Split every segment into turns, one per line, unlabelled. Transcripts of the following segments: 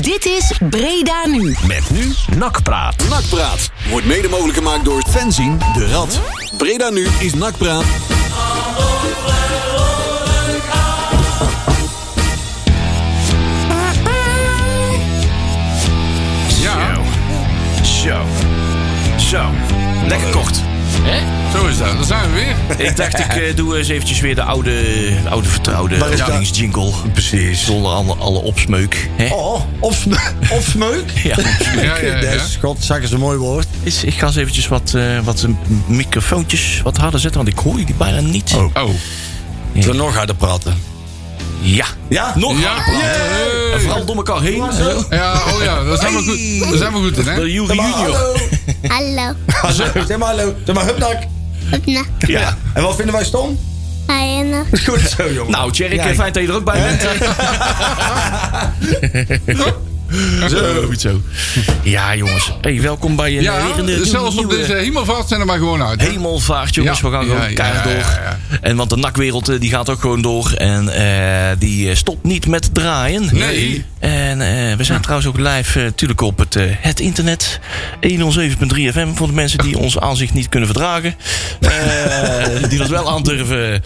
Dit is Breda Nu.
Met nu Nakpraat.
Nakpraat wordt mede mogelijk gemaakt door Fenzin de Rad. Breda nu is Nakpraat.
Ja.
Zo. Zo. Lekker kort.
Zo is dat. Daar zijn we weer.
Ik dacht, ik eh, doe eens eventjes weer de oude, de oude vertrouwde
Waar is dat?
openingsjingle. Precies. Zonder alle, alle opsmeuk. Hè?
Oh, opsme- opsmeuk?
Ja.
Ja, ja,
Dat
ja.
is, godzak is een mooi woord.
Is- ik ga eens eventjes wat, eh, wat microfoontjes wat harder zetten, want ik hoor jullie bijna niet.
Oh.
We nog harder praten.
Ja.
Ja?
Nog
Ja.
harder.
Yay.
En vooral door elkaar heen. hè?
Ja, oh ja. Daar zijn we goed, daar zijn we goed in, hè?
Door Jury
Maar
Junior.
hallo.
Hallo.
Zeg zeg maar hallo. Zeg maar hupnak.
Hupna.
Ja.
En wat vinden wij stom?
Ayana.
Goed zo, jongen.
Nou, Tjerk,
Ja, ik-
fijn dat je er ook bij bent.
Zo.
zo. Ja, jongens. Hey, welkom bij een
Ja,
weer een
zelfs op
nieuwe
deze hemelvaart zijn er maar gewoon uit. hè?
hemelvaart, jongens.
Ja.
We gaan
Ja,
gewoon
ja,
keihard
ja,
door.
ja, ja.
En want de nakwereld eh, die gaat ook gewoon door. En eh, die eh, stopt niet met draaien.
Nee.
En eh, we zijn trouwens ook live eh, natuurlijk op het, eh, het internet. 107.3 FM voor de mensen die ons aanzicht niet kunnen verdragen. Eh, die dat wel aandurven.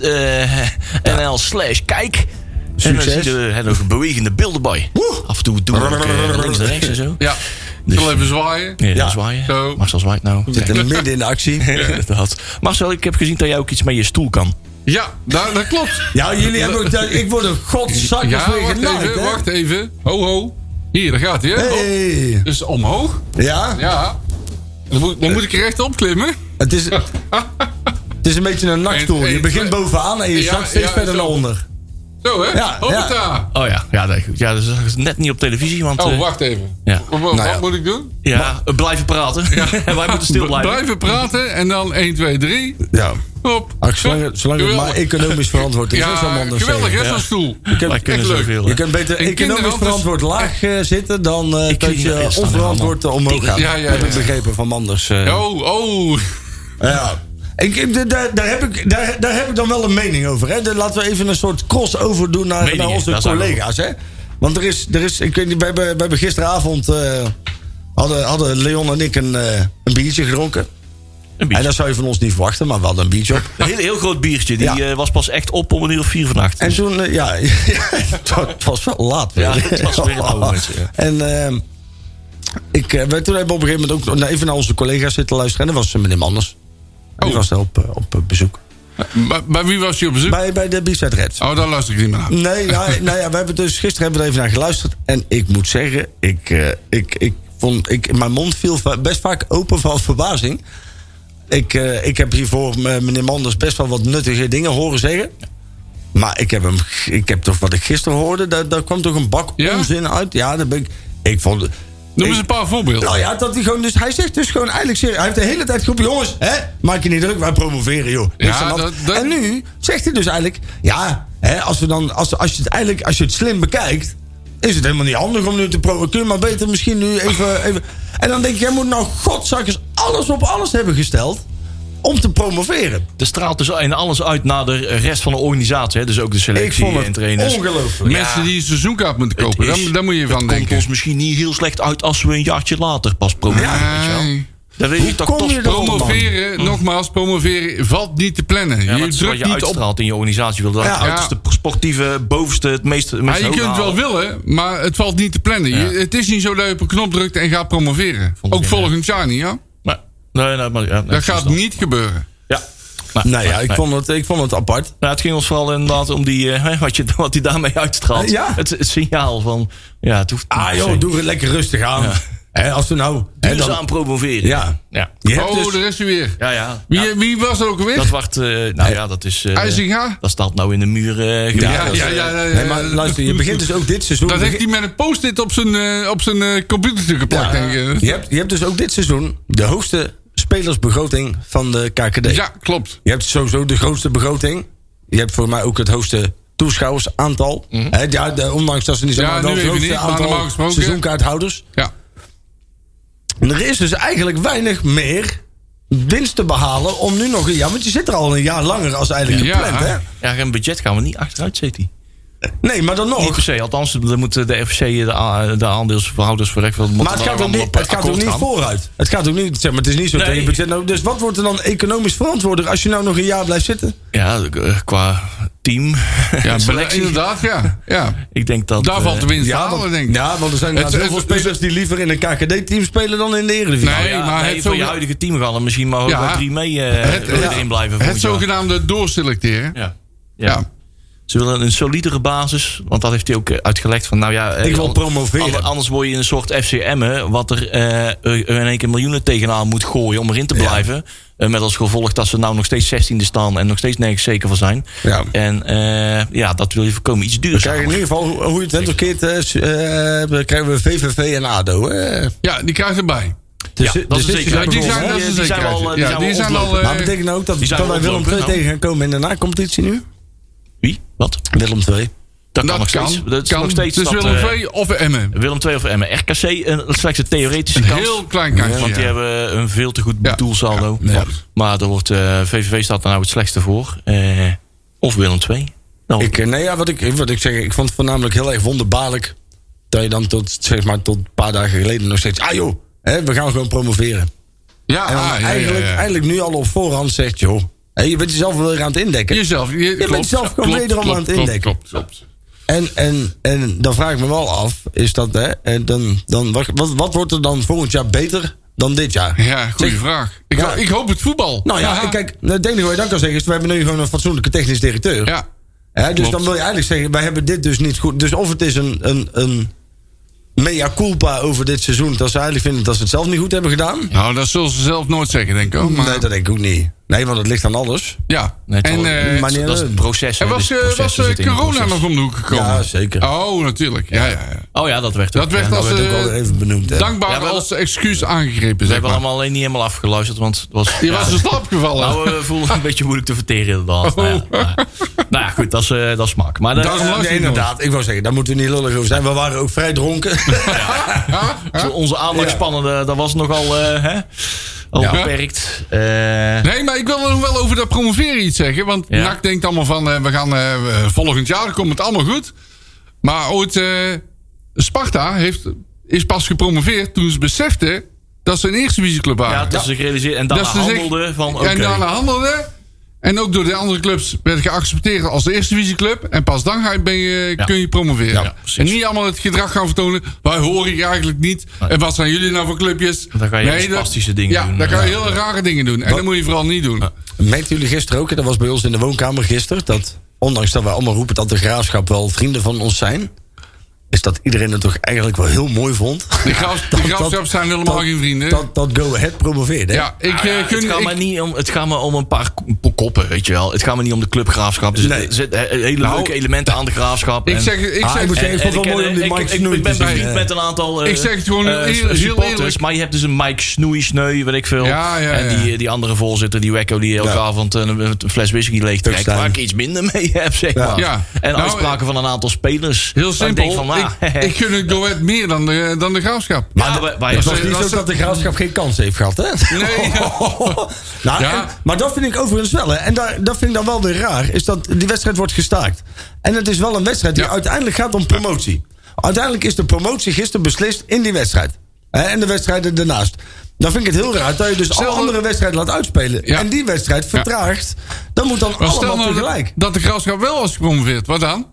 www.bredanu.nl slash kijk. En dan
Succes.
zie je er nog bewegende beelden bij. Af en toe doen we ook eh, links en rechts en zo.
Ja. Ik
Dus-
zal even zwaaien.
Ja,
Ja.
zwaaien.
Zo.
Marcel zwaait nou.
We zitten midden in de actie.
Inderdaad. Marcel, ik heb gezien dat jij ook iets met je stoel kan.
Ja, dat, dat klopt.
Ja, jullie hebben ook... Ik word een godzak
Ja,
weer
wacht
genaaid,
even,
hè?
wacht even. Ho, ho. Hier, daar gaat hij, hè?
Hey.
Dus omhoog.
Ja?
Ja. Dan moet, dan moet ik er rechtop klimmen.
Het is, het is een beetje een nakstoel.
Eén,
Je
één,
begint
twee.
bovenaan en je
Ja,
zakt steeds
ja,
verder
zo.
naar onder.
Zo, hè?
Ja, ja.
Hoppata.
Oh ja, ja, dat, ja, dat is net niet op televisie, want...
Oh,
eh,
wacht even.
Ja.
Wat, wat
Nou ja.
moet ik doen?
ja, eh, blijven praten. En wij moeten stil
B-
blijven.
Blijven praten en dan 1, 2, 3.
Ja.
Hop.
Ach, zolang, zolang het maar
Geweldig.
economisch verantwoord is,
Ja,
dat is allemaal
dus,
anders.
geweldig, hè,
eh.
zeggen.
zo'n stoel.
heb-
wij kunnen
echt leuk.
zoveel. hè.
Je kunt beter
En
economisch
kinderen anders-
verantwoord laag eh, zitten dan eh,
Ik
dat
weet niet,
je
is dat
onverantwoord eh,
helemaal-
omhoog gaat.
Ja, ja, ja.
Heb ik begrepen van Manders. eh.
Oh, oh.
Ja. Ik, ik- daar- daar, daar, heb ik, daar, daar heb ik dan wel een mening over. Hè? De- laten we even een soort crossover doen naar,
Meningen,
naar onze
daar zijn we
collega's. Hè? Want er is, er is ik weet niet, we, hebben, we hebben gisteravond eh, hadden, hadden Leon en ik een, eh, een biertje gedronken.
Een
En
biertje.
dat zou je van ons niet verwachten, maar we hadden een biertje op.
Een heel, heel groot biertje. Die
Ja.
eh, was pas echt op om een uur of vier vannacht.
En toen, eh, ja, het was wel laat.
Ja, het was weer een oude mensen, ja.
En ehm, ik, eh, wij toen hebben we op een gegeven moment ook nou, even naar onze collega's zitten luisteren. En dat was eh, meneer Manders. En Die
Oh.
was daar op, eh, op eh, bezoek.
Bij, bij wie was hij op bezoek?
Bij, bij de B-Side Reds.
Oh, daar luister ik niet meer naar.
Nee, ja, nou ja, we hebben dus gisteren hebben we er even naar geluisterd. En ik moet zeggen, ik, eh, ik, ik vond, ik, mijn mond viel va- best vaak open van verbazing. Ik, eh, ik heb hiervoor m- meneer Manders best wel wat nuttige dingen horen zeggen. Maar ik heb, hem, g- ik heb toch wat ik gisteren hoorde, daar, daar kwam toch een bak
Ja?
onzin uit. Ja, dat ben ik. Ik vond.
Noem eens
ik-
een paar voorbeelden.
nou ja, dat hij gewoon, dus hij zegt dus gewoon eigenlijk serieus. Hij heeft de hele tijd groepen, jongens, hè? Maak je niet druk, wij promoveren, joh. Niks
Ja,
aan de hand.
dat- dat-
En nu zegt hij dus eigenlijk, ja, hè, als, we dan, als, als, je het eigenlijk, als je het slim bekijkt, is het helemaal niet handig om nu te provoceren, maar beter misschien nu even. even. En dan denk ik, jij moet nou godzakkers alles op alles hebben gesteld om te promoveren.
Er straalt dus in alles uit naar de rest van de organisatie. Hè? Dus ook de
Ik
selectie
vond het
en trainers.
ongelooflijk.
Mensen die een seizoenkaart moeten
Het
kopen,
is-
daar, daar moet je van
het komt
denken.
ons misschien niet heel slecht uit als we een jaartje later pas promoveren.
Ja.
weet je wel.
Nee.
Dan weet je toch
kom
toch
je dan-
Promoveren, nogmaals, promoveren valt niet te plannen.
Ja, maar
je
het is wat
drukt
je
niet op.
uitstraalt in je organisatie. Wil dat
Ja.
het uiterste sportieve, bovenste, het meeste.
Ja,
meeste
je kunt het wel
hoog halen.
willen, maar het valt niet te plannen. Je- het is niet zo dat je op een knop drukt en gaat promoveren.
Onzin,
Ook volgend jaar niet, ja?
Maar, nee, nee, maar, ja, nee,
Dat
precies
gaat
dus dat.
niet gebeuren.
Ja. Maar,
Nou ja,
maar-
ik
maar-
vond het, ik vond het apart.
Nou, het ging ons vooral inderdaad om die, eh, hè, wat, je, wat die daarmee uitstraalt.
Eh, ja?
Het, het signaal van, ja, het hoeft
Ah
niet
joh,
per se.
doe het lekker rustig aan. Hè, als we nou... hè, dan-
Duurzaam promoveren.
Ja.
Ja,
je hebt
Oh,
dus-
daar is hij weer.
ja. ja.
Wie,
Ja,
wie was er ook weer?
dat wordt, eh, nou ja, dat is... eh,
IJzinga?
Dat staat nou in de muur eh gebeurd.
ja,
Dat is,
ja,
eh,
ja, ja, ja.
Nee, maar luister, je begint dus ook dit seizoen.
Dat heeft hij met een post-it op zijn, eh, op zijn eh, computertje geplakt, denk ik.
je, hebt, je hebt dus ook dit seizoen de hoogste spelersbegroting van de KKD.
Ja, klopt.
Je hebt sowieso de grootste begroting. Je hebt voor mij ook het hoogste toeschouwersaantal. Hè, ja, de- ondanks dat ze niet zijn,
Mhm. Ja,
maar wel
nu
het
even niet,
hoogste
maar normaal
aantal
gesproken-
seizoenkaarthouders.
Ja.
En er is dus eigenlijk weinig meer winst te behalen om nu nog een jaar... Want je zit er al een jaar langer als eigenlijk
Ja.
gepland, hè?
ja, geen budget gaan we niet achteruit, zit hij.
Nee, maar dan nog.
Niet per se, althans, dan moeten de FC, eh, de, a- de aandeelsverhouders voor recht.
Maar het gaat ook niet, het gaat ook niet vooruit. Het gaat ook niet, zeg maar, het is niet zo
Nee.
tegen budget. Nou, dus wat wordt er dan economisch verantwoordelijk als je nou nog een jaar blijft zitten?
Ja, eh, qua team.
Ja, bele-
selectie.
inderdaad, ja. ja.
Ik denk dat.
Daar
eh,
valt de winst te halen,
want,
denk ik.
ja, want er zijn nou
Het-
heel veel
het-
spelers die liever in een KKD-team spelen dan in de Eredivisie.
Nee,
ja,
maar
nee,
het,
voor je
zoge-
huidige team gaan er misschien maar ook
Ja.
wel drie mee eh,
Het-
willen
ja.
erin blijven.
het
volgend jaar.
zogenaamde doorselecteren.
Ja. Ja.
Ja.
Ze willen een solidere basis, want dat heeft hij ook eh, uitgelegd. Van, nou ja, eh,
Ik wil
an-
promoveren.
ander- Anders word je een soort FCM'en, wat er eh, eh, in één keer miljoenen tegenaan moet gooien om erin te blijven. Eh, met als gevolg dat ze nou nog steeds 16e staan en nog steeds nergens zeker van zijn.
Ja.
En eh, ja, dat wil je voorkomen. Iets
We
duurzamer.
krijgen in ieder geval, hoe- hoe je het went of keert, eh, s- eh, we krijgen we VVV en ADO. hè.
Ja, die krijgt erbij.
Dus-
dat is
dus dit
zeker.
wel
Ja,
Die
begonnen,
zijn,
hè?
dat is
Die
een
zijn
zekerheid.
wel, eh, die
ja,
zijn
die
wel
zijn
ontlopen.
al. eh,
Maar betekent dat ook dat
die zijn
dat wij Willem
ontlopen,
II
nou.
tegen gaan komen in de na-competitie nu?
Wie? Wat?
Willem II.
Dat, kan
dat
nog
kan.
steeds. Dat is
kan.
nog steeds
dus
dat,
Willem
eh,
II of Emmen.
Willem II of Emmen. RKC een, slechts een theoretische
Een
kans.
heel klein kansje.
Want die
ja.
hebben een veel te goed
Ja.
doelsaldo.
Ja. Ja.
Maar er wordt, eh, VVV staat er nou het slechtste voor. Eh, of Willem II. Nou,
Ik, eh, nee, ja, wat ik, wat ik zeg, ik vond het voornamelijk heel erg wonderbaarlijk. Dat je dan tot, zeg maar, tot een paar dagen geleden nog steeds. Ah joh, hè, we gaan gewoon promoveren.
Ja,
En dan
ah, ja,
eigenlijk,
ja, ja.
eigenlijk nu al op voorhand zegt, joh. Hè, je bent jezelf wel weer aan het indekken.
Jezelf. Je,
bent
klopt,
zelf gewoon
klopt,
wederom
klopt,
aan het
klopt,
indekken.
Klopt, klopt.
En, en, en dan vraag ik me wel af, is dat, hè, en dan, dan, wat, wat, wat wordt er dan volgend jaar beter dan dit jaar?
Ja, goede
Zeg-
vraag. Ik,
Ja.
ho- ik hoop het voetbal.
Nou ja, kijk, het enige wat je dan kan zeggen is, we hebben nu gewoon een fatsoenlijke technisch directeur.
Ja.
Hè, dus
Klopt.
dan wil je eigenlijk zeggen, wij hebben dit dus niet goed. Dus of het is een, een, een mea culpa over dit seizoen, dat ze eigenlijk vinden dat ze het zelf niet goed hebben gedaan.
Nou, dat zullen ze zelf nooit zeggen, denk ik. hoor, Oh, Maar,
Nee, dat denk ik ook niet. Nee, want het ligt aan alles.
ja.
nee,
en
het-
eh,
maar-
dat is het proces.
er
hè.
was,
Dus
eh,
het proces
was eh,
zit in het
corona
proces.
nog om de hoek gekomen.
Ja, zeker.
Oh, natuurlijk. Ja, ja, ja.
Oh ja, dat werd
Dat
ook,
werd
ja.
als,
Dat
eh,
werd ook al even benoemd. hè.
Dankbaar
Ja, we-
als excuus aangegrepen,
We
zeg
hebben
maar.
allemaal alleen niet helemaal afgeluisterd, want het was...
Je
ja,
was Oh. in slaap gevallen.
Nou, we voelden een beetje moeilijk te verteren inderdaad. Nou, ja, nou, ja. nou ja, goed, dat is, eh, dat is smaak. Maar dat,
Daarom
Eh,
luister je
nee,
nooit.
inderdaad. Ik wou zeggen, daar moeten we niet lullig over zijn. We waren ook vrij dronken.
Ja?
eh, Zo, onze aandachtspannen, eh, dat was nogal eh, hè? al beperkt. Eh,
Nee, maar ik wil nog wel over dat promoveren iets zeggen. Want
Ja.
NAC denkt allemaal van, eh, we gaan eh, we- volgend jaar, komt het allemaal goed. Maar ooit, eh, Sparta heeft, is pas gepromoveerd toen ze beseften dat ze een eerste visieclub waren.
ja, dat is gerealiseerd. En daarna
Dat Dus ze zich-
handelde van... oké.
En daarna handelde. En ook door de andere clubs werd geaccepteerd als de eerste divisieclub. En pas dan ga je, ben je,
Ja.
kun je promoveren.
Ja, precies.
en niet allemaal het gedrag gaan vertonen. Wij horen je eigenlijk niet.
Nee.
En wat zijn jullie nou voor clubjes?
Dan ga je
Nee, dat-
spastische dingen
ja,
doen.
dan kan je
Ja.
heel rare dingen doen. En dat moet je vooral niet doen.
Merkten jullie gisteren ook, dat was bij ons in de woonkamer gisteren, dat ondanks dat wij allemaal roepen dat de graafschap wel vrienden van ons zijn, is dat iedereen het toch eigenlijk wel heel mooi vond.
De, graafs, de graafschap zijn helemaal
dat-
geen vrienden.
Dat, dat Go Ahead promoveerde. hè?
ja, ik eh,
Nou ja,
kun...
het, gaat
ik-
me niet om, het gaat me om een paar ko- koppen, weet je wel. Het gaat me niet om de clubgraafschap. Dus Er
Nee.
zitten zitten he- eh, hele
Nou,
leuke elementen aan de graafschap.
ik
en-
zeg, ik
Ah,
zeg,
ik moet zeggen, ik vond het wel
ken-
mooi om die
ik-
Mike
ik-
Snoei
Ik
te
ben bevriend
zien.
met een aantal eh,
Ik zeg het gewoon
eh,
heel- heel
supporters,
eerlijk.
Maar je hebt dus een Mike Snoei, Sneu, weet ik veel.
Ja, ja,
en die,
ja.
die andere voorzitter, die Wekko, die elke
Ja.
avond eh, een, een fles whisky leeg trekt.
Tuckstein.
Waar ik iets minder mee heb, zeg
Ja.
maar.
Ja.
En
Nou,
uitspraken van een aantal spelers.
heel
Waar Ik
simpel.
denk van, ah,
ik, ik gun het Go Ahead meer dan de, dan de graafschap.
ja,
de-
wij- wij-
het
dat-
was niet
dat-
zo dat de graafschap geen kans heeft gehad, hè?
Nee.
nou,
Ja.
en- maar dat vind ik overigens wel, hè. En daar, dat vind ik dan wel weer raar, is dat die wedstrijd wordt gestaakt. En het is wel een wedstrijd die
Ja.
uiteindelijk gaat om promotie. Uiteindelijk is de promotie gisteren beslist in die wedstrijd. Hè, En de wedstrijden daarnaast. Dan vind ik het heel raar dat je dus alle
Stel-
andere wedstrijden laat uitspelen.
Ja.
En die wedstrijd vertraagt. Dan moet dan
Maar stel
allemaal
nou dat,
tegelijk.
dat de graafschap wel was gepromoveerd. Wat dan?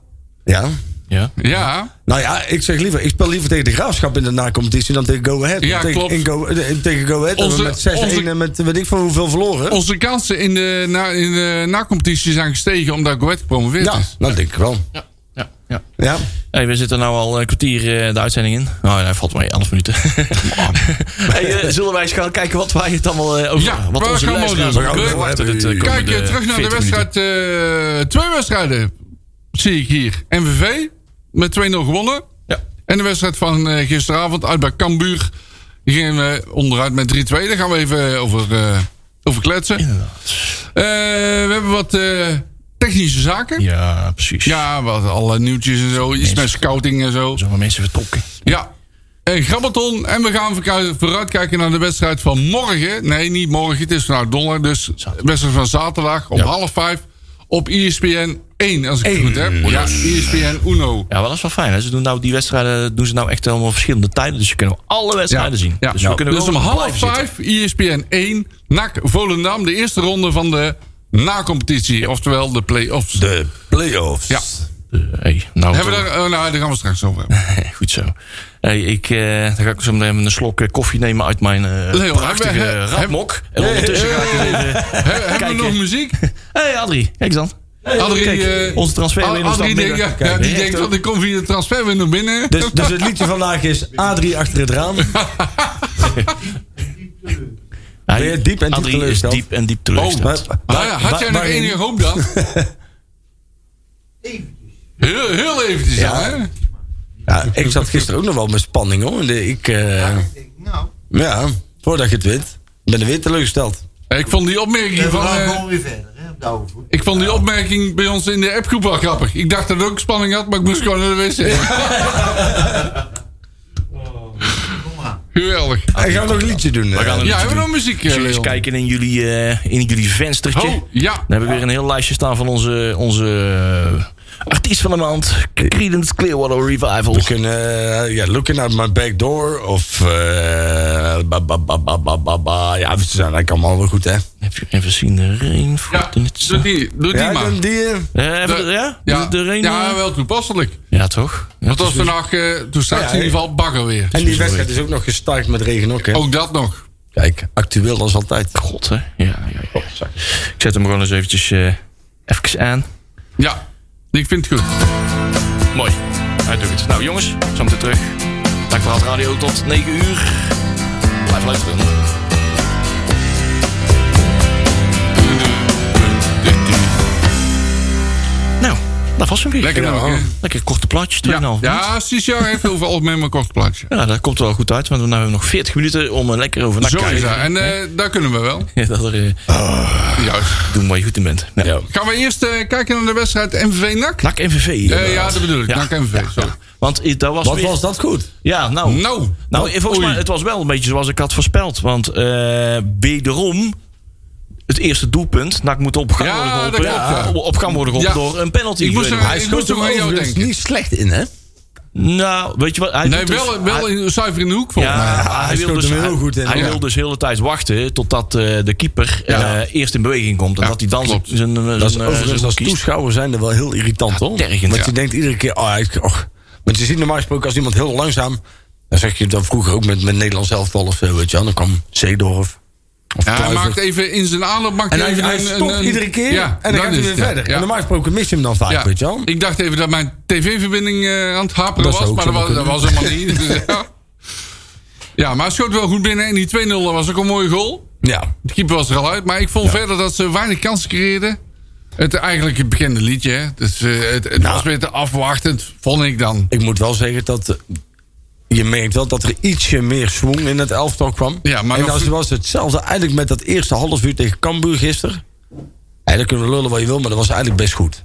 Ja.
ja.
Ja.
Nou ja, ik zeg liever, ik speel liever tegen de Graafschap in de na-competitie dan tegen Go Ahead.
Ja,
Want tegen,
klopt.
in Go, eh, tegen Go Ahead hebben
Onze-
we met 6-1
onze-
en met weet ik veel hoeveel verloren.
Onze kansen in de, na, in de na-competitie zijn gestegen omdat Goed gepromoveerd
ja,
is.
dat denk ik wel.
Ja. Ja. Ja.
Ja.
Hey, we zitten nu al een kwartier eh, de uitzending in. Oh, nee, valt mee, 11 minuten. hey, eh, zullen wij eens gaan kijken wat wij het allemaal eh, over...
Ja,
wat
we gaan wel
luisteraars
doen.
allemaal
We-
verwachten
we-
dit, eh,
Kijk
komende
eh, terug naar de
40 minuten.
wedstrijd. eh, twee wedstrijden zie ik hier. MVV met 2-0 gewonnen.
Ja.
En de wedstrijd van eh, gisteravond uit bij Cambuur. Die gingen we onderuit met 3-2. Daar gaan we even over, eh, over kletsen. Eh, we hebben wat eh, technische zaken. Ja.
Ja, precies.
wat alle nieuwtjes en zo. Iets met scouting en zo.
Zomaar mensen vertrokken.
Ja. En Grabbelton. En we gaan verku- vooruitkijken naar de wedstrijd van morgen. Nee, niet morgen. Het is vandaag donderdag. Dus de wedstrijd van zaterdag om half vijf. Op ESPN 1, als ik het goed heb. Ja, E ESPN Uno.
Ja, wel dat is wel fijn. Hè? Ze doen nou die wedstrijden doen ze nou echt helemaal verschillende tijden. Dus je kunt alle wedstrijden zien.
Ja.
Dus
Nou,
we kunnen
dus om
wel
half
blijven zitten.
vijf, E ESPN 1, NAC Volendam. De eerste ronde van de na-competitie, oftewel de play-offs.
De playoffs.
Ja.
Eh, hey, nou,
Hebben we
toch.
daar, eh, nou, daar gaan we straks over hebben.
Goed zo. Hey, ik, eh, dan ga ik zo meteen een slok eh, koffie nemen uit mijn eh,
Nee, hoor,
prachtige
hebben we-
eh, rapmok. En ondertussen ga ik
Hey,
eens even...
He- hebben we
Kijken.
nog muziek?
hey, Adrie. Kijk dan.
Adrie,
Kijk,
eh,
onze transferwinnaar
Ad-
is dan
Adrie
binnen.
denkt, ja,
Kijk,
ja, die
echt,
denkt,
hoor.
want ik kom via de transferwindow binnen.
Dus, dus het liedje vandaag is A3 achter het raam.
Oh,
Hij,
Ben je diep en diep
Adrie is
teleurgesteld? Oh,
diep en diep teleurgesteld.
Maar-
Ah ja, had jij
waar-
nog
waarin-
enige hoop dan? Heel, heel eventjes, ja. hè?
Ja, ik zat gisteren ook nog wel met spanning hoor. En de- ik, eh, ja.
Nou,
voordat je het wint. Ik ben er weer teleurgesteld.
Ja, Ik vond die opmerking
we
van...
gaan
eh,
gewoon weer verder, hè, op de oude voet.
ik vond die opmerking bij ons in de appgroep wel grappig. Ik dacht dat het ook spanning had, maar ik moest gewoon naar de wc.
Oh,
Geweldig.
En gaan we nog een liedje doen?
We
eh?
gaan er
Ja,
iets
hebben we
doen.
nog muziek, eh,
Zullen we eens
Leon?
kijken in jullie, eh, in jullie venstertje?
Oh, ja.
Dan heb ik weer een heel lijstje staan van onze, onze eh, artiest van de maand. Creedence Clearwater Revival.
We kunnen, eh, ja, looking out my back door. Of, eh, ba, ba, ba, ba, ba, ba, ba. Ja, ze zijn eigenlijk allemaal wel goed, hè?
Even, even zien, de
Ja,
Rainford. in het-
doe die, doe die
Ja,
maar.
dan die. eh,
Eh, even de- ja?
ja,
De, de Rain-
ja, wel toepasselijk.
Ja, toch? Ja,
Want
het
als
is dus- weer-
vandaag, eh toen straks
Ja,
in ieder geval bagger weer.
En die wedstrijd is ook nog gestart met regen ook, hè?
Ook dat nog.
Oh. Kijk, actueel als altijd.
God, hè? Ja, ja, ja. Ik zet hem gewoon eens eventjes eh, even aan.
Ja, ik vind het goed.
Mooi. Hij doet het. Nou, jongens, zo meteen terug. Dank voor het radio tot 9 uur. Blijf luisteren. Nou, dat was hem weer.
Lekker nou, hè?
eh, Lekker korte plaatjes, 2,5
Ja,
minuut.
ja Sisjar heeft heel veel met mijn kort plaatje.
Ja, nou, dat komt er wel goed uit, want we hebben nog 40 minuten om er lekker over na te
Zo is Ah. dat.
kijken.
En eh, daar kunnen we wel.
Ja, dat er, eh,
Juist.
doen waar je goed in bent. Nou.
Gaan we eerst eh, kijken naar de wedstrijd MVV NAC?
NAC NVV.
Eh, ja,
inderdaad.
dat bedoel ik.
Ja.
NAC MVV. sorry.
Want eh, dat was
Wat
weer-
was dat goed?
Ja,
Oh.
nou.
Nou,
Nou,
Wat?
volgens mij,
Oei.
het was wel een beetje zoals ik had voorspeld. Want eh wederom het eerste doelpunt. NAC moet op gang
Ja,
worden
dat
geholpen.
klopt, ja.
op, op gang worden geholpen
Ja.
door een penalty.
Ik moest
weet
er-
nog.
Hij Ik moest
schoot
ook
hem
aan jou
overigens
denken.
niet slecht in, hè?
nou, weet je wat? Hij
Nee,
doet dus-
wel, wel
Ah.
hij-
in, zuiver in de hoek volgens
ja,
mij.
hij
hij wil
schoot
dus,
hem heel
hij,
goed in,
hij
hoor.
wil dus heel de tijd wachten totdat eh, de keeper
Ja.
eh, eerst in beweging komt. En
Ja,
dat hij dan zijn,
klopt.
zijn, zijn,
Dat is
eh,
overigens
zijn
als
kiest.
toeschouwer zijn er wel heel irritant, hoor.
tergend,
Want
ja.
je denkt iedere keer, oh, hij, och. Want je ziet normaal gesproken als iemand heel langzaam... Dan zeg je dat vroeger ook met, met Nederlands elftal of zo, weet je wel. Dan kwam Zeedorf. Of
Ja, hij
Kluivert.
maakt even in zijn aanloop. Maakt
En hij,
even
hij
een- een-
stopt
een-
iedere keer
Ja,
en dan gaat hij
is
weer
het, ja.
verder.
Ja.
En normaal gesproken mis je hem dan vaak,
Ja.
weet je wel.
Ik dacht even dat mijn tv-verbinding eh, aan het haperen
Dat
was,
zou ook
maar dat was,
zomaar
dat was helemaal niet. Dus, ja. ja, maar hij schoot wel goed binnen en die 2-0 was ook een mooie goal.
Ja.
De keeper was er al uit, maar ik vond verder dat ze weinig kansen creëerden. Het eigenlijk het bekende liedje, hè. Dus eh, het, het
Nou.
was weer te afwachtend, vond ik dan.
Ik moet wel zeggen dat... eh, Je merkt wel dat er ietsje meer swing in het elftal kwam.
Ja, maar
en
nog-
dat was hetzelfde eigenlijk met dat eerste half uur tegen Cambuur gisteren. En dan kunnen we lullen wat je wil, maar dat was eigenlijk best goed.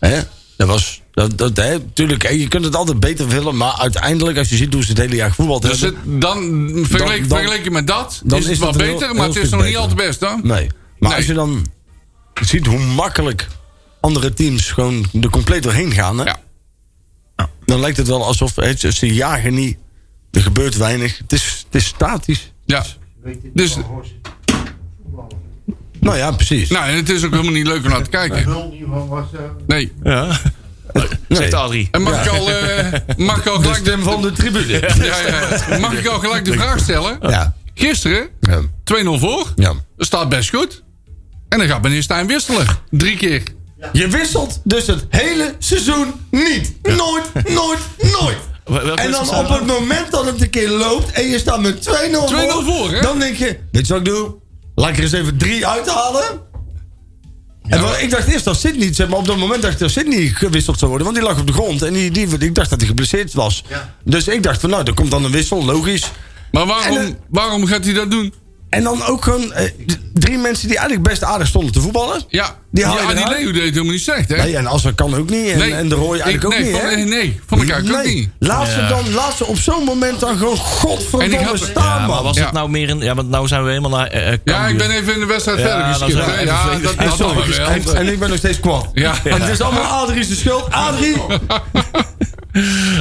Hè? Dat was... Dat, dat, hè? Tuurlijk, hè, je kunt het altijd beter willen, maar uiteindelijk, als je ziet hoe ze het hele jaar voetbal
Dus het,
hebben...
dan, vergeleken,
Dan- dan-
vergeleken met dat,
dan
is het
is
wel
het een heel-
beter, maar
heel
het is
stuk
nog niet al te
beter.
best, hoor.
Nee. Maar
Nee.
als je dan ziet hoe makkelijk andere teams gewoon er compleet doorheen gaan... Hè?
Ja.
dan lijkt het wel alsof hè, ze ze jagen niet. Er gebeurt weinig. Het is, het is statisch.
ja. Dus,
Nou ja, precies.
nou, en het is ook helemaal niet leuk om naar te kijken.
Nul niet van was er.
Nee.
Ja, zegt
nee.
Adrie.
En mag ik al, eh, mag ik al gelijk de,
van de tribune.
ja, ja. Mag ik al gelijk de vraag stellen?
Ja.
Gisteren, 2-0
Ja.
voor.
Ja.
Staat best goed. En dan gaat meneer Stijn wisselen. Drie keer.
Je wisselt dus het hele seizoen niet. Nooit, nooit, nooit.
Wel- welke
En
wedstrijd
dan
zijn
op
we
het moment dat het een keer loopt en je staat met 2-0 voor,
voor, hè?
dan denk je, weet je wat ik doe? Laat ik er eens even drie uithalen. En wel, ik dacht eerst dat Sidney, zeg maar op dat moment dacht ik dat Sidney gewisseld zou worden, want die lag op de grond en die, die, ik dacht dat hij geblesseerd was. Dus ik dacht van nou, er komt dan een wissel, logisch.
Maar
En,
waarom,
eh,
waarom gaat hij dat doen?
En dan ook gewoon eh, d- drie mensen die eigenlijk best aardig stonden te voetballen.
Ja,
Die haal je
ja, die
eruit.
Leeuw deed het helemaal niet slecht, hè?
Nee, en Asser kan ook niet. En,
Nee.
en de Roy eigenlijk
Ik-
ook
nee,
niet.
van-
hè?
nee, nee, van elkaar ook niet.
Laat, ze
Ja.
dan, laat ze op zo'n moment dan gewoon
En ik
godverdomme
had-
staan,
Ja, maar
man.
was
Ja.
het nou meer een... Ja, want nou zijn we helemaal naar eh, eh,
Ja,
Cambuur.
ik ben even in de wedstrijd
Ja,
verder
dat is
geschikt.
wel
hè?
even
Ja,
vreemd.
dat
En
dat
sorry,
hadden we wel.
en, en ik ben nog steeds kwam.
Ja.
En het is allemaal Adrie's de schuld. Adrie!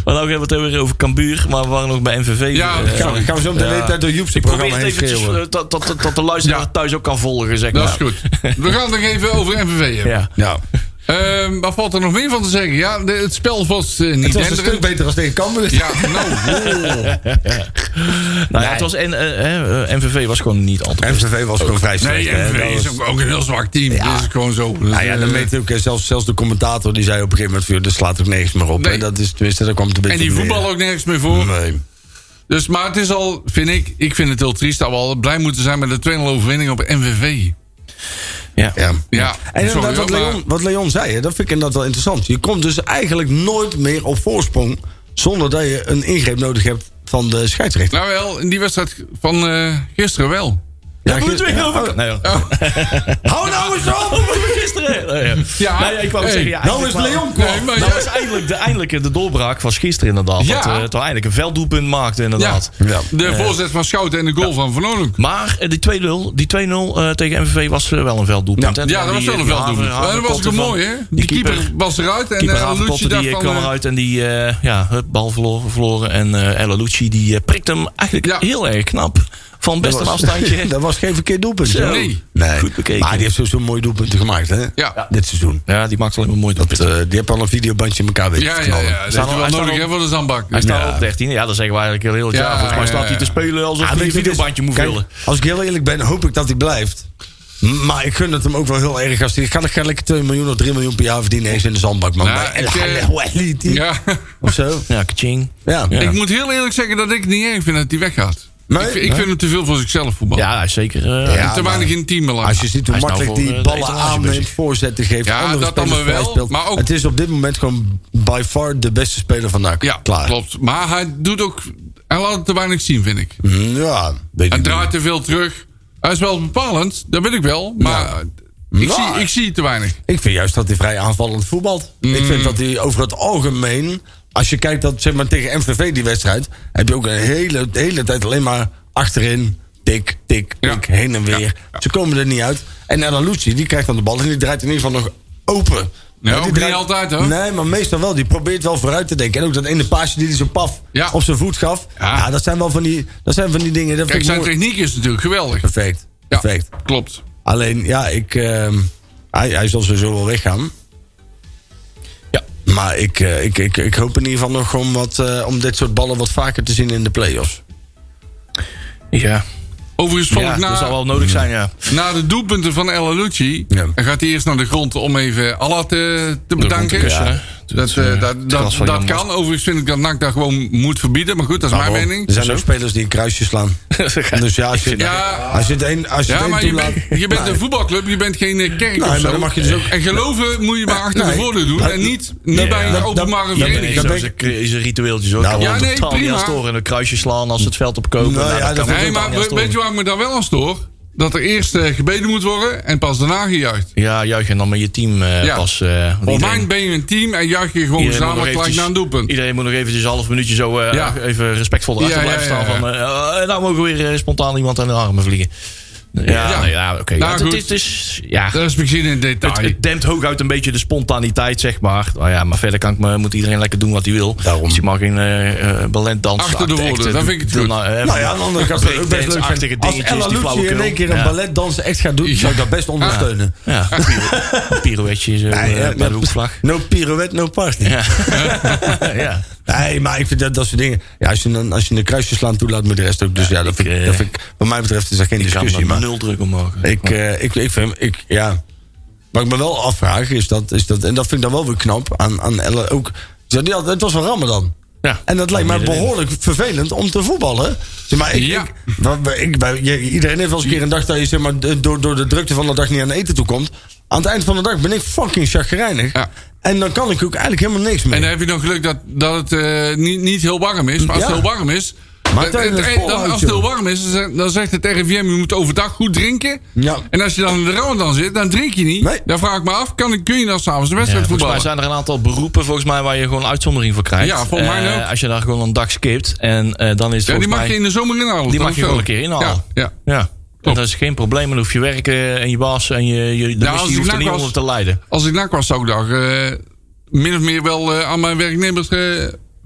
Maar nou hebben we het weer over Cambuur. Maar we waren nog bij MVV.
Ja,
Eh,
Gaan we, gaan we zo meteen de hele tijd door Joep's
Probeer
programma
het
heen
eventjes
schreeuwen.
eh, dat, dat, dat, dat de luisteraar
Ja.
thuis ook kan volgen, zeg maar.
Dat is goed. We gaan het nog even over MVV hebben.
Ja.
Ja.
Ehm, wat valt er nog meer van te zeggen? Ja, de- het spel was eh, niet
Het was een
denderend.
stuk beter als tegen Cambuur.
Ja, nou.
Nou, ja, het was, en, eh, eh, MVV was gewoon niet altijd best.
MVV was gewoon vrij slecht.
Nee,
hè.
MVV
Dat
is
was-
ook, ook een heel zwak team.
Ja.
Dat is gewoon zo. Dat,
Nou ja, dan
eh,
weet je ook, hè, zelfs, zelfs de commentator die zei op een gegeven moment: "Vuur, er slaat ook niks meer op.
Nee.
hè." Dat is, tenminste, daar kwam het een beetje
en die
op neer.
voetbal ook nergens meer voor.
Nee.
Dus, maar het is al, vind ik, ik vind het heel triest dat we al blij moeten zijn met de 2-0 overwinning op MVV.
Ja.
Ja.
Ja,
En
sorry,
inderdaad, wat
hoor,
Leon, wat Leon zei, hè, dat vind ik inderdaad wel interessant. Je komt dus eigenlijk nooit meer op voorsprong zonder dat je een ingreep nodig hebt van de scheidsrechter.
Nou wel, in die wedstrijd van eh, gisteren wel.
Ja, Oh.
Daar moeten we
gisteren-
heel over... Nee, hoor.
Hou nou eens op!
gisteren. Nou ja.
Ja,
Nou ja, ik wou
hey,
zeggen, ja,
Nou
eigenlijk
is
wel-
Leon
Nee,
kwam.
maar
Dat
ja,
was Nou eindelijk de, eindelijk de doorbraak was gisteren inderdaad.
Ja.
Dat eh, het wel eindelijk een velddoelpunt maakte inderdaad. Eh.
ja. de voorzet van Schouten en de goal van Van Olunk.
Maar eh, die 2-0 die 2-0 eh, tegen MVV was eh, wel een velddoelpunt. hè.
Ja, dat was
Die,
wel een
eh,
velddoelpunt.
Haver-
Ja, Dat was
Haverkotte
ook mooi, hè?
van-
Die keeper was eruit en
Keeper
eh, Lucci
Haverkotte,
dacht
die eh,
van...
kwam
eh,
eruit en die eh, ja, het bal verloren. verloren. En eh El Lucci die eh, prikte hem eigenlijk
Ja.
heel erg knap. Van best een afstandje.
dat was geen verkeerd doelpunt.
Zo.
hè?
Nee.
Goed bekeken.
Maar die heeft sowieso mooie doelpunten gemaakt, hè?
Ja.
Dit seizoen.
Ja, die maakt alleen maar mooi
Dat,
doelpunten.
eh, die hebben al een videobandje in elkaar weten
Ja,
te
ja,
knallen.
ja. Dat
Staan
is
al-
wel
hij
nodig,
staat
hè,
al-
voor de zandbak.
Hij staat
Ja.
op 13. Ja, dat zeggen we eigenlijk heel het
Ja,
jaar. Volgens mij
ja,
staat hij
ja.
te spelen alsof
Ah,
hij een
weet je,
dus-
dit is-
videobandje moet
Kijk,
vullen.
Als ik heel eerlijk ben, hoop ik dat hij blijft. M- Maar ik gun het hem ook wel heel erg. Als hij kan ik lekker 2 miljoen of 3 miljoen per jaar verdienen eens in de zandbak. Man.
Nou,
Maar
ik,
El
eh,
Halaouali, die-
Ja.
Of zo.
Ja, kaching.
Ja.
Ja.
Ik moet heel eerlijk zeggen dat ik het niet erg vind dat hij weggaat.
Nee?
Ik, ik vind hem te veel voor zichzelf voetbal.
Ja, hij is zeker. eh,
Ja,
en te
maar-
weinig in het team belangrijk.
Als je ziet hoe
Hij is
makkelijk
nou voor,
die
eh, de
ballen
etalage
aanneemt,
bezig.
voorzetten geeft.
Ja,
andere
dat
spelers
allemaal wel,
vrijspeelt.
maar ook-
Het is op dit moment gewoon by far de beste speler van NAC.
Ja,
Klaar.
klopt. Maar hij doet ook... Hij laat het te weinig zien, vind ik.
Mm, Ja, weet
Hij
ik
draait te veel terug. Hij is wel bepalend, dat weet ik wel. Maar ik,
Nou.
zie, ik zie te weinig.
niet. Ik vind juist dat hij vrij aanvallend voetbalt. Ik
Mm.
vind dat hij over het algemeen... Als je kijkt dat, zeg maar, tegen MVV die wedstrijd... heb je ook een hele, de hele tijd alleen maar achterin... tik, tik,
Ja.
tik, heen en weer. Ze komen er niet uit. En Analucci, die krijgt dan de bal... en die draait in ieder geval nog open.
Ja,
Hè,
ook niet altijd, hoor.
Nee, maar meestal wel. Die probeert wel vooruit te denken. En ook dat ene paasje die hij zo paf
Ja.
op zijn voet gaf.
Ja.
Ja. dat zijn wel van die, dat zijn van die dingen... Dat
Kijk,
vind
zijn
ik mooi.
techniek is natuurlijk geweldig.
Perfect,
Ja,
perfect.
klopt.
Alleen, ja, ik, ehm, hij, hij zal sowieso wel weggaan.
Ja.
Maar ik, eh, ik, ik, ik hoop in ieder geval nog om, wat, eh, om dit soort ballen wat vaker te zien in de play-offs.
ja.
Overigens vond
Ja,
ik
dat
na,
zal wel nodig zijn, ja.
na de doelpunten van El Alucci...
Ja.
dan gaat hij eerst naar de grond om even Allah te, te bedanken.
kussen, hè.
Dat,
Dat,
eh,
eh,
dat,
het
dat,
gras van
dat
Jan
kan. Overigens vind ik dat NAC dat gewoon moet verbieden. Maar goed, dat is mijn
Waarom? Er
mening.
zijn ook spelers die een kruisje slaan. dus ja, als je,
Ja.
als je het een, als je het
Ja,
een
maar je,
toelaat- Nou
bent- je bent
Nee.
een voetbalclub, je bent geen eh, kerk
Nee,
of
maar
zo.
dan mag je dus ook-
En geloven moet je maar achter
Nee.
de voordeur doen.
Dat-
En niet, niet
dat-
bij een
dat-
openbare
dat-
vereniging.
dat-
Zo is een- is een ritueeltje zo. Ik kan
Nou,
me
ja, nee,
totaal niet
prima.
aan storen. Een kruisje slaan als ze het veld opkomen.
Nou, ja,
dat
dat-
kan me
Nee,
totaal
maar
niet aan
we-
storen.
weet je waar ik me daar wel aan stoor? Dat er eerst eh, gebeden moet worden en pas daarna gejuicht.
Ja, juich en dan met je team eh,
Ja.
pas. eh, want
Volgens mij
iedereen-
ben je een team en juich je gewoon
iedereen moet nog
samen gelijk
eventjes-
naar een doelpunt.
Iedereen moet nog eventjes een half minuutje zo eh,
Ja.
even respectvol erachter
Ja, ja,
blijven staan.
ja, ja.
Van, eh, eh, nou mogen we weer eh, spontaan iemand aan de armen vliegen. Ja,
Ja.
ja. ja oké.
Nou,
Ja, het- het
goed.
is- het is- ja,
Dat is misschien in detail.
Het, het dempt hooguit een beetje de spontaniteit, zeg maar. Nou ja, maar verder kan ik me, moet iedereen lekker doen wat hij wil.
Daarom.
Dus je mag in eh eh ballet dansen.
Achter de woorden, dat vind ik het goed.
Nou ja, aan de andere kant zou het ook best leuk
eh, achtige
zijn. Als
dingetjes,
Ella
die
Lucci
flauwekul.
in één keer een
ja.
balletdansen echt gaat doen, zou ik dat best ondersteunen.
Ja, een pirouet- een pirouetje zo, eh,
ja,
bij
ja.
de hoekvlag.
No pirouette, no party.
Ja. ja.
Nee, maar ik vind dat, dat soort dingen. Ja, als je een, als je een kruisje slaan toelaat met de rest ook. Dus ja, dat,
ik,
vind, ik-
eh,
dat vind ik. Wat mij betreft is dat geen
Ik kan
discussie.
er
Maar
nul druk om maken.
ik, eh, ik, ik vind. Ik, ja. Wat ik me wel afvraag is dat. Is dat en dat vind ik dan wel weer knap aan, aan Elle. Ook, ze- die had- het was van Ramadan.
Ja.
En dat lijkt mij
Middenin.
behoorlijk vervelend om te voetballen. Zeg maar, ik,
Ja.
ik- wat we- ik- wij- je- iedereen heeft wel eens een keer een dag dat je zeg maar, de- door, door de drukte van de dag niet aan eten toe komt. Aan het eind van de dag ben ik fucking chagrijnig.
Ja.
En dan kan ik ook eigenlijk helemaal niks meer.
En dan heb je nog geluk dat, dat het eh, niet, niet heel warm is. Maar als
Ja.
het heel warm is,
Maar
Het- het- het- dan- als het heel warm is, dan zegt- dan zegt het RIVM, je moet overdag goed drinken.
Ja.
En als je dan in de ramadan zit, dan drink je niet.
Nee.
Dan vraag ik me af, kan, ik- kun je dan s'avonds de wedstrijd
volgens mij
voetballen?
zijn er een aantal beroepen volgens mij, waar je gewoon uitzondering voor krijgt.
Ja, volgens mij
Eh,
ook.
als je daar gewoon een dag skipt. En eh, dan is het
Ja, die
volgens
mag je
mij...
in de zomer inhalen.
Die
toch?
mag je gewoon een keer inhalen.
Ja, ja.
Ja, En dat is geen probleem. Dan hoef je werken en je baas en je, je de
Ja, als
missie hoeft
die
er
vlak
niet
was-
onder te lijden.
Als ik nak was, zou ik daar eh, min of meer wel eh, aan mijn werknemers eh,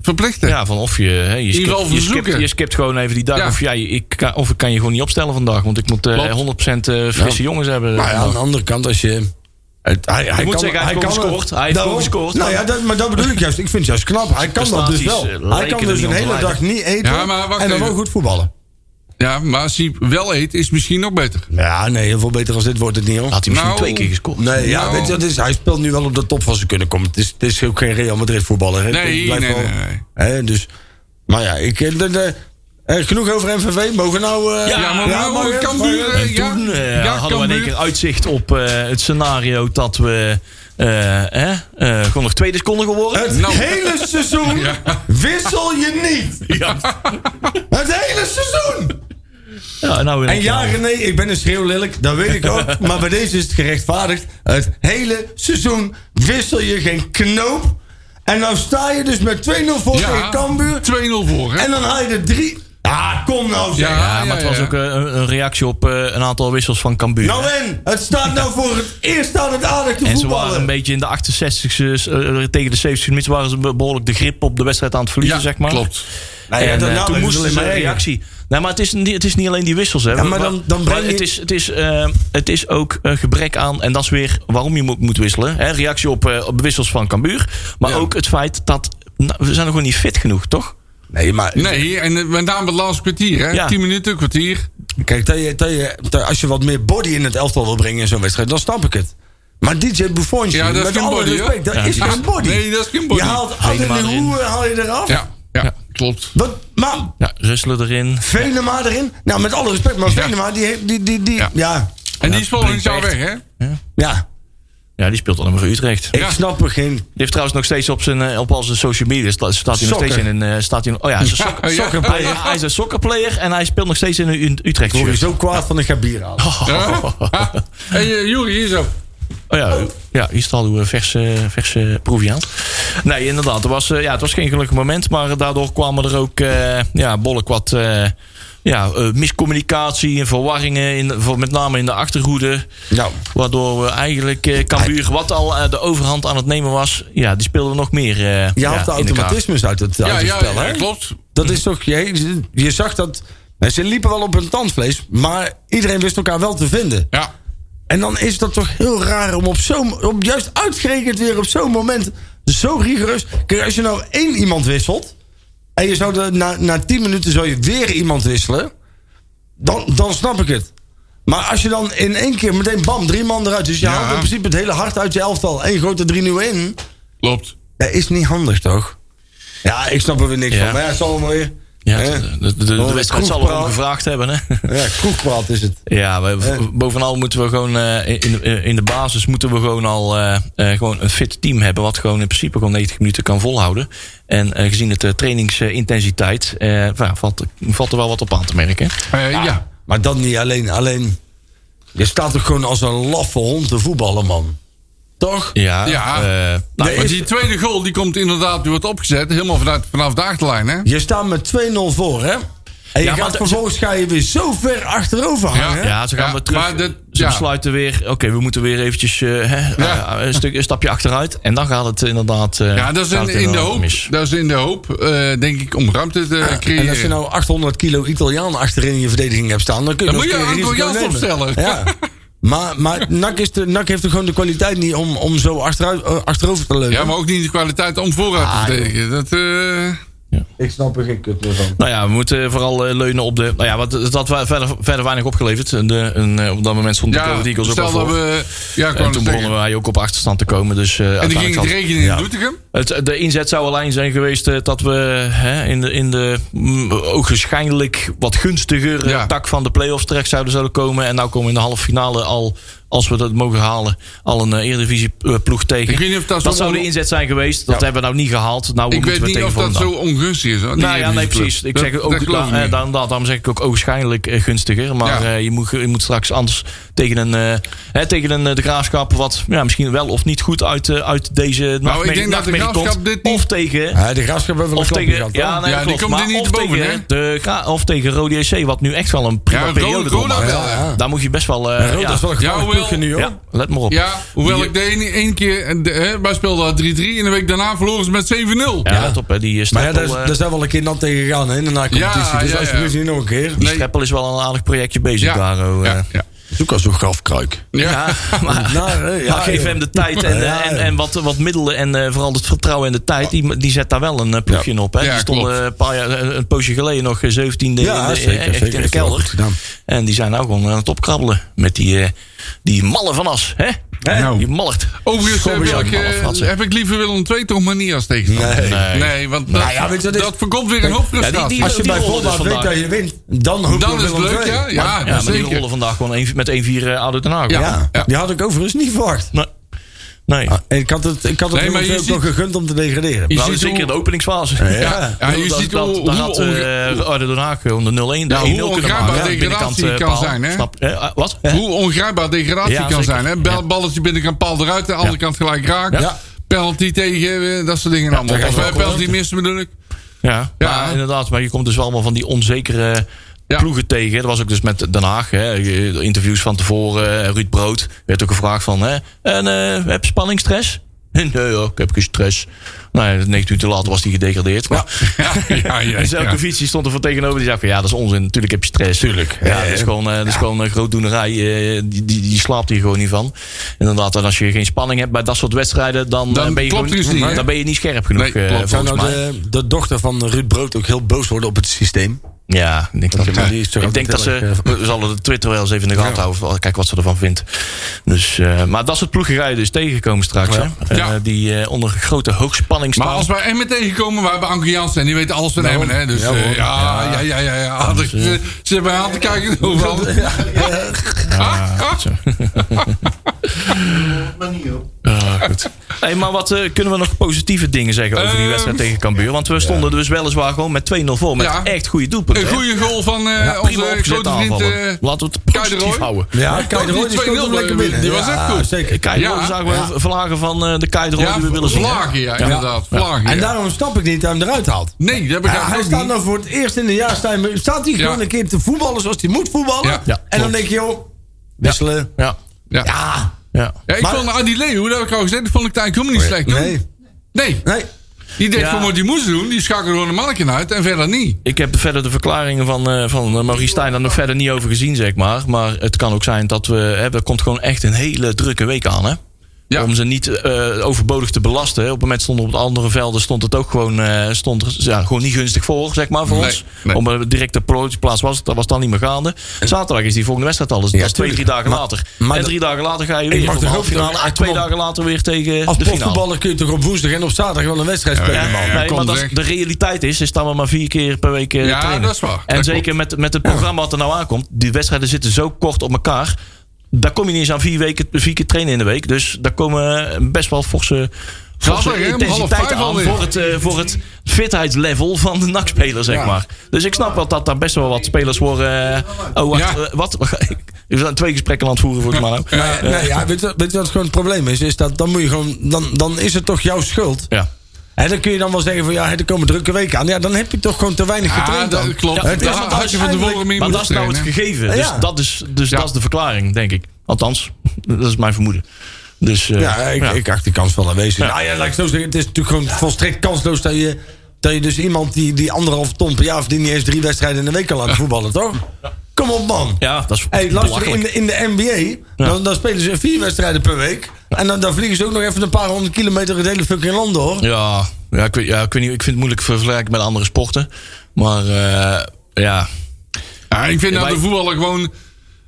verplichten.
Ja, van of je, hè, je,
ieder geval
skipt, je,
verzoeken.
skipt, je skipt gewoon even die dag.
Ja.
Of, jij, ik kan, of ik kan je gewoon niet opstellen vandaag. Want ik moet eh,
Klopt. Nou
100% eh, frisse jongens hebben. Nou,
Maar Nou ja, aan de andere kant, als je... Het, hij, hij
moet
kan,
zeggen, hij heeft gewoon
kan
gescoord. Hij heeft
Daarom.
gewoon gescoord.
Nou ja, dat, maar dat bedoel ik juist. Ik vind het juist knap. Hij kan dat dus wel.
Prestaties, eh,
Hij
lijken
kan
er
dus
niet
een
onder
hele
lijden.
dag niet eten.
Ja, maar wacht
en dan
even.
wel goed voetballen.
Ja, maar als hij wel eet, is het misschien nog beter.
Ja, nee, heel veel beter als dit wordt het niet, hoor.
Had hij misschien
Nou,
twee keer gescoord.
Nee, ja,
Nou.
weet je, dat is, hij speelt nu wel op de top van zijn kunnen komen. Het is, het is ook geen Real Madrid voetballer. Hè?
Nee,
Het blijft
nee,
wel-
nee, nee.
Hè, dus, maar ja, ik, eh, de, de- eh, genoeg over MVV. Mogen we nou... eh,
Ja,
Ja, maar
ja,
nou,
maar-
Cambuur,
maar-
eh,
En
ja,
toen eh,
ja,
hadden we in één
Cambuur.
keer uitzicht op eh, het scenario dat we eh, hè, eh, gewoon nog tweede konden geworden.
het
Nou.
hele seizoen
Ja.
wissel je niet.
Ja.
Het hele seizoen.
Ja, en nou in één
En
keer-
ja, René, ik ben een schreeuwlelijk, dat weet ik ook. Maar bij deze is het gerechtvaardigd. Het hele seizoen wissel je geen knoop. En nou sta je dus met 2-0 voor tegen
Ja, 2-0
Cambuur.
voor, hè?
En dan haal je er drie. Ah, kom nou zeg.
Ja,
Ja, maar het
ja,
was
ja.
ook eh, een, een reactie op eh, een aantal wissels van Cambuur.
Nou en, het staat nou voor het eerst aan het aardig te
en ze waren
voetballen.
een beetje in de 68 e tegen de 70 minuten waren ze be- behoorlijk de grip op de wedstrijd aan het verliezen,
Ja,
zeg maar.
klopt.
Nou ja,
en
dat-
eh,
nou,
toen
dat is
moesten
alleen
ze
maar
een
erger.
reactie. Nee, maar het is, niet, het is niet alleen die wissels. Hè.
Ja, maar dan- dan breng je-
het, is, het, is, eh, het is ook eh, gebrek aan, en dat is weer waarom je moet, moet wisselen. Hè. Reactie op, eh, op wissels van Cambuur. Maar
Ja.
ook het feit dat nou, we zijn nog gewoon niet fit genoeg, toch?
Nee, maar
Nee, en eh, met name het laatste kwartier, hè?
Ja.
10 minuten, een kwartier.
kijk, dat je, dat je, dat- als je wat meer body in het elftal wil brengen in zo'n wedstrijd, dan snap ik het. Maar DJ Buffon,
Ja, dat is
met
geen
alle
body, hoor.
respect, dat
Ja,
is
die-
geen body.
Nee, dat is geen body.
Je haalt
Helemaal
altijd de
erin.
hoe haal je eraf.
Ja, ja, klopt.
Wat, maar
Ja, Rustler erin.
Venema erin. Nou, met alle respect, maar Venema, die, heeft- die, die, die,
Ja.
ja. ja.
En die is volgend jaar weg,
Blinkt
hè?
Ja, die speelt al nummer Utrecht.
Ik
Ja.
snap er geen
Die heeft trouwens nog steeds op, zijn, eh, op al zijn social media. sta- Staat hij nog
Sokken.
steeds in een. eh, Staat hij, oh ja, hij is een sok-
Ja, ja.
sokkerplayer. Hij is een soccerplayer en hij speelt nog steeds in een U- Utrecht.
word je
shirt.
zo kwaad van, ik ga bier halen.
Ja. En uh, Juri, hier zo.
Oh ja, eh, ja, hier staat uw verse, verse eh, proviant. Nee, inderdaad. Het was, eh, ja, het was geen gelukkig moment. Maar daardoor kwamen er ook eh ja, behoorlijk wat eh, ja, eh, miscommunicatie en verwarringen. In, voor, met name in de achterhoede.
Nou,
Waardoor we eigenlijk eh Cambuur, wat al eh, de overhand aan het nemen was... Ja, die speelden we nog meer eh
je
ja,
haalt de
in elkaar.
automatismes uit het,
Ja,
uit het
ja,
spel,
ja,
hè?
klopt.
Dat is toch, je, je zag dat, nou, ze liepen wel op hun tandvlees, maar iedereen wist elkaar wel te vinden.
Ja.
En dan is dat toch heel raar om op zo'n, op juist uitgerekend weer op zo'n moment, zo rigoureus. Kijk, als je nou één iemand wisselt, en je zou de, na, na tien minuten zou je weer iemand wisselen, dan, dan snap ik het. Maar als je dan in één keer meteen bam, drie man eruit. Dus je
Ja.
haalt in principe het hele hart uit je elftal. En je gooit er drie nieuwe in.
Klopt.
Dat is niet handig, toch? Ja, ik snap er weer niks
Ja.
van. Maar ja, het zal allemaal weer...
Ja,
hè?
de, de, de, de
Oh,
wedstrijd zal
kroegpraat.
erom gevraagd hebben. Hè?
Ja, kroegpraat is het.
Ja, we-
Eh.
bovenal moeten we gewoon eh, in, in- in de basis moeten we gewoon al eh, eh, gewoon een fit team hebben. Wat gewoon in principe gewoon 90 minuten kan volhouden. En eh, gezien het eh, trainingsintensiteit eh, nou ja, valt, valt er wel wat op aan te merken.
Eh, ja.
Maar dat niet alleen. Alleen, je staat toch gewoon als een laffe hond te voetballen, man. Toch?
Ja,
Ja.
eh, nou,
Want die tweede goal die komt inderdaad, die wordt opgezet, helemaal vanuit, vanaf de achterlijn, hè?
Je staat met 2-0 voor, hè? En je
Ja, maar
gaat
de-
vervolgens ga je weer zo ver achterover hangen. hè?
ja, ze gaan
Ja,
we terug.
maar dit-
ze
ja.
besluiten weer. Oké, we moeten weer eventjes eh, hè,
Ja.
eh, een, stuk, een stapje achteruit. En dan gaat het inderdaad. eh,
Ja, dat is
gaat
in,
het
in de
inderdaad
hoop,
mis.
dat is in de hoop eh, denk ik, om ruimte te creëren.
En als je nou 800 kilo Italiaan achterin in je verdediging hebt staan, dan kun je
Dan moet
nog
je
een keer
een
risico
Italiaans
nemen.
opstellen.
Ja. Maar, maar NAC, is de, NAC heeft toch gewoon de kwaliteit niet om, om zo achteruit, eh, achterover te leunen.
Ja, maar ook niet de kwaliteit om vooruit
Ah,
te verdedigen. Dat, eh,
Ik snap er geen kut meer van.
Nou ja, we moeten vooral eh, leunen op de. Nou ja, wat, dat had we- verder, verder weinig opgeleverd. De, een, eh, op dat moment stond de
ja,
Golden Eagles ook al
stel dat
voor.
we... Ja, ik wou
en
net
toen
zeggen.
begonnen wij ook op achterstand te komen. Dus, eh,
En die
uiteindelijk
ging
had-
het regenen in
Ja.
Doetinchem.
Het- de inzet zou alleen zijn geweest eh, dat we hè, in de, in de mm, ook waarschijnlijk wat gunstiger eh,
Ja.
tak van de play-offs terecht zouden, zouden komen. En nou komen we in de halve finale al, als we dat mogen halen, al een eh, Eredivisie eh, ploeg tegen.
Ik weet niet of dat zo
zou de
on-
inzet zijn geweest. Dat hebben we nou niet gehaald. Nou,
Ik
moeten
weet
we
niet
tegen
of dat
Volendam.
zo ongunstig is. hoor. Die
Nou ja,
Eredivisie
nee,
club.
precies. Ik
Dat-
zeg
dat
ook,
geloof
da-
ik
eh,
niet.
dan, dat, daarom zeg ik ook ogenschijnlijk eh, gunstiger. Maar
Ja.
eh, je, moet, je moet straks anders tegen een, eh, hè, tegen een eh, de graafschap wat ja, misschien wel of niet goed uit, eh, uit deze nachtmerrie-
Nou, ik denk dat de
nachtmerrie
Graafschap
komt.
dit niet-
Of tegen...
Ja, de graafschap hebben we
Of
een klapje
tegen,
gehad.
ja,
hoor.
nee,
Ja, die
klopt.
komt
maar
er niet
of
boven,
tegen
hè?
de Gra- of tegen Rode JC, wat nu echt wel een prima
Ja,
periode
Roda- Roda
doormaakt.
wel, ja.
Daar moet je best wel... eh,
Ja, Roda
ja,
is wel een
Ja,
gevaarlijk
hoewel-
ploegje nu, hoor.
ja, let maar op.
Ja, hoewel
Die-
ik de ene, ene keer... en de- hè, wij speelden al 3-3 en de week daarna verloren ze met 7-0.
Ja, let op. hè, Die eh,
Maar ja,
Streppel,
daar, is-
eh,
daar zijn we al een keer nat tegen gegaan hè, in de na-competitie.
Ja,
dus
ja,
alsjeblieft
ja.
niet nog een keer.
die
nee.
Streppel is wel een aardig projectje bezig
Ja.
daar. oh, eh.
Ja, ja.
Zoek al zo'n grafkruik.
Ja.
Ja, maar,
Nou, hè, ja,
maar geef
joh.
hem de tijd en, eh, en, en wat, wat middelen en eh, vooral het vertrouwen en de tijd. Die, die zet daar wel een eh, ploegje in op. Hè.
Ja,
die stonden
klopt.
een, paar jaar, een een poosje geleden nog eh, 17e in de-
Ja,
eh,
zeker,
echt in,
zeker.
de
Heeft hij wel goed
kelder.
gedaan.
En die zijn nou gewoon aan het opkrabbelen met die, eh, die malle van as. Hè?
Nou.
Die mallert.
Overigens eh,
Schobbejak,
wil ik, eh,
mallefratsen.
heb ik liever Willem II toch maar niet als tegenstander.
Nee.
Nee.
Nou
want dat,
ja, weet je, dat
dat,
is-
voorkomt weer een hoop
die-
frustratie.
die-
Als je
die
bij
rollen
Volbaan
dus
weet dat
vandaag.
je wint, dan hoop je
dan
op
is het
Willem
leuk,
II.
ja.
Maar-
Ja,
Ja, maar die
zeker.
rollen vandaag gewoon een, met 1-4 eh, uit Den Haag.
Ja.
Ja, die had ik overigens niet verwacht.
Nee. nee.
Ah, En ik had het, ik had het
Nee, maar
Willem
je
II ook
ziet-
wel gegund om te degraderen.
Je
nou,
ziet
zeker
hoe-
in de openingsfase.
Ja.
Ja, je
dat,
ziet
dat,
hoe,
daar
hoe
had
onge-
eh Arden Den Haag onder 0-1
Ja,
de 1-0
hoe
kunnen
ongrijpbaar
maken. hè,
degradatie
binnenkant, eh,
kan
paal.
zijn, hè?
Snap- eh, wat? Hè?
hoe ongrijpbaar degradatie
Ja,
kan
zeker.
zijn. Hè? Bal-
Ja.
Balletje binnenkant paal eruit, de andere kant gelijk raak.
Ja.
Penalty tegen, eh, dat soort dingen allemaal.
dat
Of
is wel
eh, penalty missen bedoel ik.
Ja,
Ja.
maar inderdaad. Maar je komt dus wel allemaal van die onzekere
Ja.
ploegen tegen. Dat was ook dus met Den Haag. Hè. Interviews van tevoren. eh, Ruud Brood werd ook gevraagd van... Hè, en eh, heb je spanningsstress? Nee, hoor, ik heb geen stress. Nou, ja, 19 uur te laat was hij gedegradeerd. Maar
Ja, ja, ja,
En
ja.
Zelkovic die stond er van tegenover. Die zei van ja, dat is onzin. Natuurlijk heb je stress. Tuurlijk. Ja, dat is gewoon, eh, dat is gewoon een grootdoenerij. eh, die, die, die slaapt hier gewoon niet van. Inderdaad, en als je geen spanning hebt bij dat soort wedstrijden, dan,
Dan
eh, ben, je
klopt er iets
gewoon,
niet, hè?
dan ben je niet scherp genoeg.
Nee,
eh,
klopt.
Zou
volgens
nou
mij.
de, de dochter van Ruud Brood ook heel boos worden op het systeem?
Ja, ik denk dat,
Ja, die is toch
ik denk dat
altijd
ze. We zullen de Twitter wel eens even in de gaten houden. Kijk wat ze ervan vindt. Dus, eh, maar dat soort ploegen ga je dus tegenkomen straks. Hè? Eh,
Ja.
die eh, onder grote hoogspanning
Maar
staan.
als wij Emmen tegenkomen, wij hebben Anke Jansen en die weet alles van Emmen. Hè? Dus
Ja,
eh,
hoor.
ja, ja, ja, ja. ja. Ah, dat- Ze ze hebben aan te kijken overal. Ah, ah.
maar niet op.
Ah, goed. Hey, maar wat eh, kunnen we nog positieve dingen zeggen over die
Ehm,
wedstrijd tegen Cambuur? Want we stonden dus weliswaar gewoon met 2-0 voor. Met
Ja.
echt goede doelpunten.
Een
hè?
goede goal van eh,
Prima
onze
opgezette
grote vriend.
aanvallen.
eh,
Laten we het
Kei de
positief
Roy.
houden.
Ja, kijk,
die
de die schoot
2-0
hem lekker binnen.
die was
Ja,
echt goed.
Zeker.
Kijk,
Ja.
dan zagen we
Ja.
vlagen van eh, de Keider
ja,
die we willen zien. hè?
vlagen, ja, inderdaad. Vlagen,
En
ja.
daarom snap ik niet dat hij hem eruit haalt.
Nee, dat
Ja,
begrijp ik
hij
ook
staat
niet.
nou voor het eerst in een jaar. Staat hij, staat hij
Ja.
gewoon een keer te voetballen zoals hij moet voetballen.
Ja.
Ja,
en dan
klopt.
denk je, joh, wisselen.
Ja.
Ja.
Ja.
Ja.
Ja, ik
Maar-
vond Adi Leo, dat heb ik al gezegd, dat vond ik eigenlijk helemaal niet slecht doen.
Nee.
Nee.
Nee.
Die deed
Ja.
gewoon wat hij moest doen. Die schakelde gewoon een manneken uit en verder niet.
Ik heb verder de verklaringen van, eh van eh, Maurice Stijn daar nog verder niet over gezien, zeg maar. Maar het kan ook zijn dat we... Hè, er komt gewoon echt een hele drukke week aan, hè?
Ja.
Om ze niet eh, overbodig te belasten. Op het moment stond op het andere velden stond het ook gewoon, eh, stond, er- ja, gewoon niet gunstig voor, zeg maar, voor
Nee,
ons.
nee.
Om eh, een directe plaats was, het- dat was dan niet meer gaande. Zaterdag is die volgende wedstrijd al. Dus dat is twee, drie dagen later.
maar
en
de-
drie dagen later ga je weer.
mag
voor
toch
de
ook
halffinale.
niet-
En
ah,
twee
kom op.
dagen later weer tegen
Als
de finale.
profvoetballer kun je toch op woensdag en op zaterdag wel een wedstrijd spelen,
Ja,
man.
ja, ja.
nee, maar
komt
dat is-
weg.
de realiteit is, is dat we maar vier keer per week eh,
Ja,
trainen.
dat is waar.
En
Dat
zeker met, met het programma wat er nou aankomt. Die wedstrijden zitten zo kort op elkaar. Daar kom je niet eens aan vier, weken, vier keer trainen in de week. Dus daar komen eh, best wel forse, forse
Zaterdag, hè, om half
intensiteit
vijf
aan
alweer.
voor het, eh, voor het fitheidslevel van de NAC-speler, zeg maar. Dus ik snap wel dat daar best wel wat spelers worden. eh, oh, wacht,
Ja.
eh, wat? We zijn twee gesprekken aan het voeren volgens mij. nou.
Nee, nee, ja, weet, je, weet je wat het gewoon het probleem is? is dat dan, moet je gewoon, dan, dan is het toch jouw schuld.
Ja.
En dan kun je dan wel zeggen van ja, er komen drukke weken aan. Ja, dan heb je toch gewoon te weinig
Ja,
getraind dan.
dat klopt.
Ja,
Ja,
het is
had
uiteindelijk-
je van tevoren mee
Maar dat
moeten
is nou het
trainen.
gegeven. Dus,
Ja.
dat, is, dus
Ja.
dat is de verklaring, denk ik. Althans, dat is mijn vermoeden. Dus, eh,
Ja, ik,
ja.
ik acht die kans wel aanwezig. Nou ja, laat ik zo zeggen. Het is natuurlijk gewoon volstrekt kansloos dat je, dat je dus iemand die, die anderhalf ton per jaar verdient, niet eens drie wedstrijden in de week kan laten voetballen, toch? Kom op, man.
Ja, dat is
Hey, luister, in
belachelijk.
de, in de NBA, dan, dan spelen ze vier wedstrijden per week. En dan, dan vliegen ze ook nog even een paar honderd kilometer het hele fucking land door.
Ja, ja, ik, weet, ja ik, weet niet, ik vind het moeilijk vergelijken met andere sporten. Maar eh, ja,
Ja, ik vind dat
wij-
de voetballer gewoon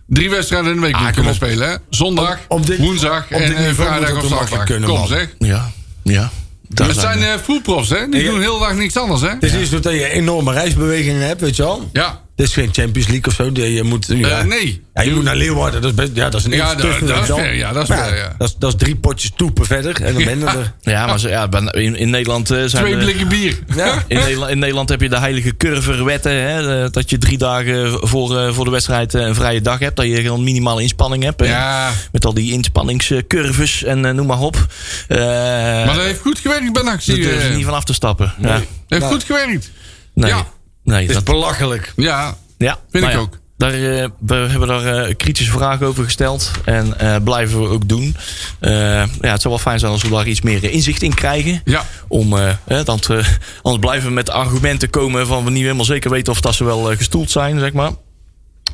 drie wedstrijden in de week moet kunnen spelen. Hè? Zondag,
Op- op dit-
woensdag
op dit
en eh,
niveau moet
vrijdag
het
of
toch
zaterdag.
makkelijk kunnen,
Kom
man.
zeg.
ja, ja. Daar
Het zijn
we.
Dus
eh voetprofs, hè? Die doen heel de dag niks anders, hè?
Het is eerst dat je enorme reisbewegingen hebt, weet je wel.
Ja. Eh,
Dit is geen Champions League of zo. die- Je moet, ja.
nee.
Ja, je moet naar Leeuwarden. Dat is best, ja, dat is een
Ja,
eentje
dat-
tussen
dat is
dan.
ver, ja, dat is
Maar
ver, ja.
Dat is, dat is drie potjes toepen verder. En dan ben je er.
Ja, maar ze, ja, bij- in, in Nederland eh, zijn
eh, Twee
de-
blikken bier.
Ja.
In Nederland, in Nederland heb je de heilige curverwetten. Hè? eh, Dat je drie dagen voor, eh, voor de wedstrijd eh, een vrije dag hebt. Dat je gewoon minimale inspanning hebt. eh,
Ja.
Met al die inspanningscurves en eh, noem maar op. Eh
Maar dat heeft goed gewerkt bij NAC.
daar
zie je.
durven ze niet van af te stappen. Ja.
Heeft goed gewerkt.
Nee.
Ja.
Nee,
Het is
dat,
belachelijk.
Ja.
ja.
Vind
Nou
ik
ja,
ook.
Daar, eh, we hebben daar eh, kritische vragen over gesteld. En eh, blijven we ook doen. Eh, ja, het zou wel fijn zijn als we daar iets meer eh, inzicht in krijgen.
Ja.
Om, eh, hè, want, eh, anders blijven we met argumenten komen van we niet helemaal zeker weten of dat ze wel eh, gestoeld zijn, zeg maar.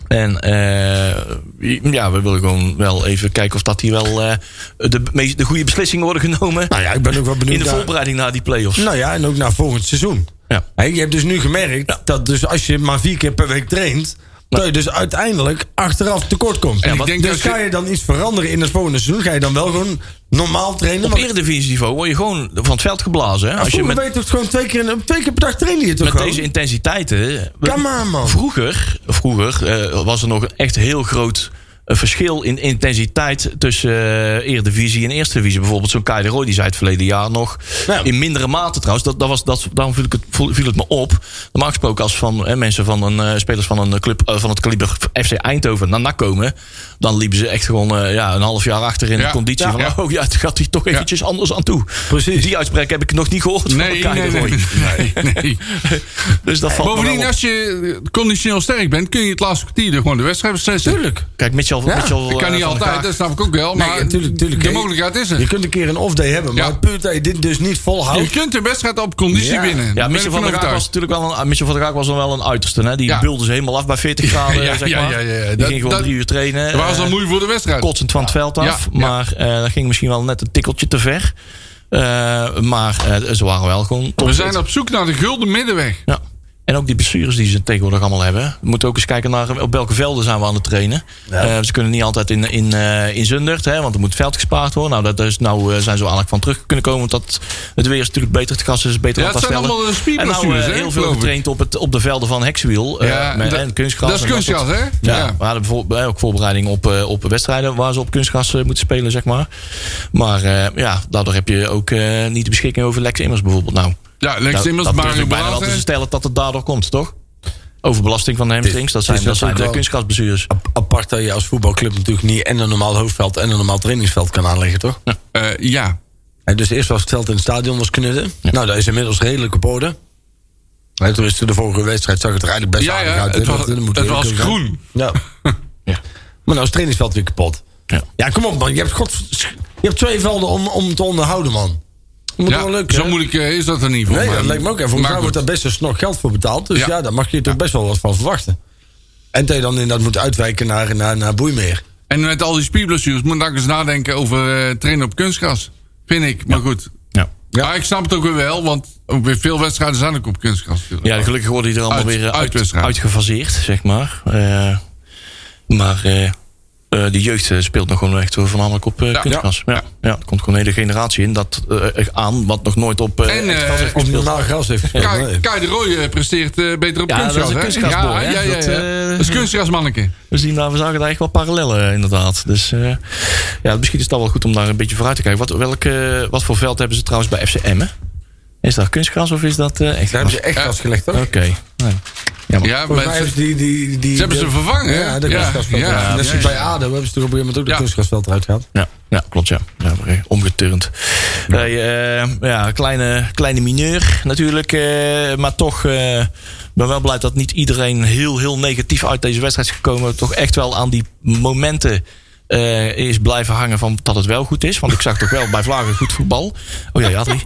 En eh, ja, we willen gewoon wel even kijken of dat hier wel eh, de, meest, de goede beslissingen worden genomen.
Nou ja, ik ben ook wel benieuwd.
in de
naar-
voorbereiding naar die play-offs.
Nou ja, en ook naar volgend seizoen.
Ja.
Hè, je hebt dus nu gemerkt dat dus als je maar vier keer per week traint. Dat je dus uiteindelijk achteraf tekort komt.
En ik denk
dus
dat je-
ga je dan iets veranderen in het volgende seizoen? Ga je dan wel gewoon normaal trainen?
Op
Want-
eredivisieniveau word je gewoon van het veld geblazen. Hè?
Ja,
Als je
vroeger
met,
weet je toch gewoon twee keer, in- twee keer per dag trainen je toch
met
gewoon?
deze intensiteiten...
Come on, man.
Vroeger, vroeger eh, was er nog een echt heel groot eh, verschil in intensiteit tussen eh, Eredivisie en Eerste Divisie. Bijvoorbeeld zo'n Kai de Roy, die zei het verleden jaar nog.
Ja.
In mindere mate trouwens, dat, dat was, dat, daarom viel, ik het, voel- viel het me op. Normaal gesproken als van, eh, mensen van een, eh, spelers van een club eh, van het kaliber FC Eindhoven naar NAC komen... dan liepen ze echt gewoon eh, ja, een half jaar achter in
Ja.
de conditie
Ja.
van...
Ja.
oh ja, het gaat hier toch eventjes anders aan toe.
Precies.
Die uitspraak heb ik nog niet gehoord
Nee,
van Kai
nee,
de Roy.
nee. nee, nee.
Dus dat valt me wel
Bovendien,
op.
als je conditioneel sterk bent, kun je het laatste kwartier gewoon de wedstrijd beslissen. Tuurlijk.
Kijk, Mitchell...
Ja,
Mitchell
Dat
eh,
kan
van
niet
der
altijd, dus
Kaak-
dat snap ik ook wel.
Nee,
Maar
tuurlijk, tuurlijk.
de
Nee.
mogelijkheid is
Je
er.
kunt een keer een off-day hebben. Maar
Ja.
puur dat je dit dus niet
Je
volhoudt.
kunt de wedstrijd op conditie
Ja.
winnen.
Ja,
Daar ben
Mitchell
ik
van, der Raak
overtuigd.
was natuurlijk wel een, eh, Mitchell van der Raak was dan wel een uiterste. Hè? Die
Ja.
bulde ze helemaal af bij 40 graden.
ja,
zeg
ja,
maar.
ja, ja.
Die
Dat-
ging gewoon
dat-
drie uur trainen.
Dat was
eh,
al moeilijk voor de wedstrijd.
kotsend van het veld af.
Ja, ja.
Maar eh, dat ging misschien wel net een tikkeltje te ver. Eh, maar eh, ze waren wel gewoon top.
We zijn op zoek naar de gulden middenweg.
Ja. En ook die blessures die ze tegenwoordig allemaal hebben. We moeten ook eens kijken naar eh, op welke velden zijn we aan het trainen. Eh, ze kunnen niet altijd in, in, eh, in Zundert, hè, want er moet veld gespaard worden. Nou, dat is, nou eh, zijn ze wel aardig van terug kunnen komen. Want dat, het weer is natuurlijk beter, het gas is beter
Ja,
aan
het zijn
stellen.
allemaal, eh,
En nou
spierblessures,
eh,
hè,
heel veel
geloof ik.
getraind op, het, op de velden van Hexwiel. eh,
Ja,
met,
dat-
en kunstgras.
dat is
en soort-
kunstgras, hè?
Ja,
Ja.
we hadden bijvoorbeeld eh, ook voorbereiding op, eh, op wedstrijden waar ze op kunstgras eh, moeten spelen, zeg maar. Maar eh, ja, daardoor heb je ook eh, niet de beschikking over Lex Immers bijvoorbeeld. Nou,
Ja, Lex
dat-
Simmers,
dat durf
Mario
ik bijna wel
Blaas.
te
hè?
stellen dat het daardoor komt, toch? Overbelasting van de hamstrings, dat zijn,
is
dat zijn
natuurlijk
de
wel-
kunstgrasblessures.
Ap- Apart dat je als voetbalclub natuurlijk niet en een normaal hoofdveld en een normaal trainingsveld kan aanleggen, toch?
Eh, Ja.
Hè, dus eerst was het veld in het stadion was knudden. Nou, dat is inmiddels redelijk op orde. Hè, toen is de vorige wedstrijd zag het er eigenlijk best
Ja,
aardig
ja,
uit. hè.
het
Dat-
was-
dat moet
het
eerlijk
was
ook zijn.
groen.
Ja.
Ja.
Maar nou is het trainingsveld weer kapot.
Ja.
kom op man. Je hebt, god, je hebt twee velden om, om te onderhouden, man. Dat Moet wel
Ja,
lukken.
zo
hè?
moeilijk eh, is dat er niet voor.
Nee, dat
maar-
lijkt me ook. En voor
maar
elkaar wordt daar
goed.
best een snor geld voor betaald. Dus
Ja.
ja, daar mag je toch best wel wat van verwachten. En dat je dan inderdaad moet uitwijken naar, naar, naar Boeimeer.
En met al die spierblessures moet ik eens nadenken over eh, trainen op kunstgras. Vind ik, maar goed.
Ja.
Ja. ik snap het ook weer wel, want ook weer veel wedstrijden zijn ook op kunstgras. natuurlijk.
ja, gelukkig worden die er allemaal
Uit-
weer eh, uit,
uitwedstrijd.
uitgefaseerd, zeg maar. Eh, maar eh, eh, de jeugd eh, speelt nog gewoon echt voornamelijk op eh
Ja.
kunstgras. Ja. Ja. er komt gewoon een hele generatie in dat eh, echt aan, wat nog nooit op eh
En,
echt gras
eh,
heeft
Of
gespeeld.
normaal gras heeft gespeeld.
Kai,
Nee.
Kai de Roy eh, presteert eh, beter op
Ja, dat is
kunstgras.
een
hè?
kunstgrasboy,
Ja,
hè?
ja, ja.
Dat,
ja.
eh,
Dat is kunstgrasmanneke.
Dus die daar we zagen daar echt wel parallellen eh, inderdaad. Dus eh, ja, misschien is het al wel goed om daar een beetje vooruit te kijken. Wat, welke, wat voor veld hebben ze trouwens bij FC Emmen? Is dat kunstgras of is dat eh, echt
Daar
gras?
hebben ze echt gras gelegd, toch?
Oké. Nee. Jammer.
Ja,
Volgens mij
maar
hebben ze die, die, die,
ze hebben ze vervangen, hè?
Ja, de
Ja,
kunstgrasveld.
ja,
eruit.
ja,
Net zoals
ja.
bij ADO hebben ze er op een gegeven moment ook
Ja.
de kunstgrasveld eruit gehaald.
Ja, ja klopt ja. ja maar, eh, omgeturnd. Hey, eh, ja, kleine, kleine mineur natuurlijk. eh, maar toch eh, ik ben wel blij dat niet iedereen heel, heel negatief uit deze wedstrijd is gekomen. Toch echt wel aan die momenten eh, is blijven hangen van dat het wel goed is. Want ik zag toch wel bij Vlagen goed voetbal. Oh ja, ja, die.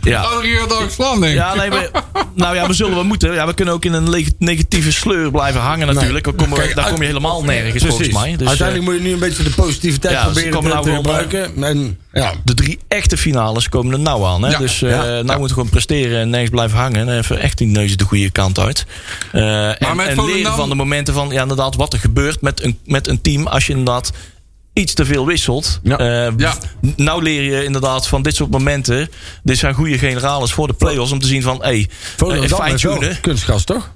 Ja.
Adrie gaat ook slaan, denk ik.
Ja, nee, we, nou ja, we zullen wel moeten. Ja, we kunnen ook in een leg- negatieve sleur blijven hangen natuurlijk. Dan komen we-
Kijk,
daar
uit-
kom je helemaal nergens volgens mij. Dus, eh,
Uiteindelijk moet je nu een beetje de positiviteit
Ja, ze
proberen
komen
te,
nou
te
weer op,
gebruiken. En, ja.
de drie echte finales komen er nou aan. Hè?
Ja,
dus eh
ja,
nou moeten we gewoon presteren en nergens blijven hangen. En even echt die neus de goede kant uit. Eh, en
met
en leren
Volendam-
van de momenten van ja, inderdaad, wat er gebeurt met een, met een team als je inderdaad iets te veel wisselt.
Ja.
Eh,
Ja.
Nou leer je inderdaad van dit soort momenten. Dit zijn goede generales voor de play-offs om te zien van hé, hey, eh,
Volendam heeft wel
fijn-tunen.
kunstgras, toch?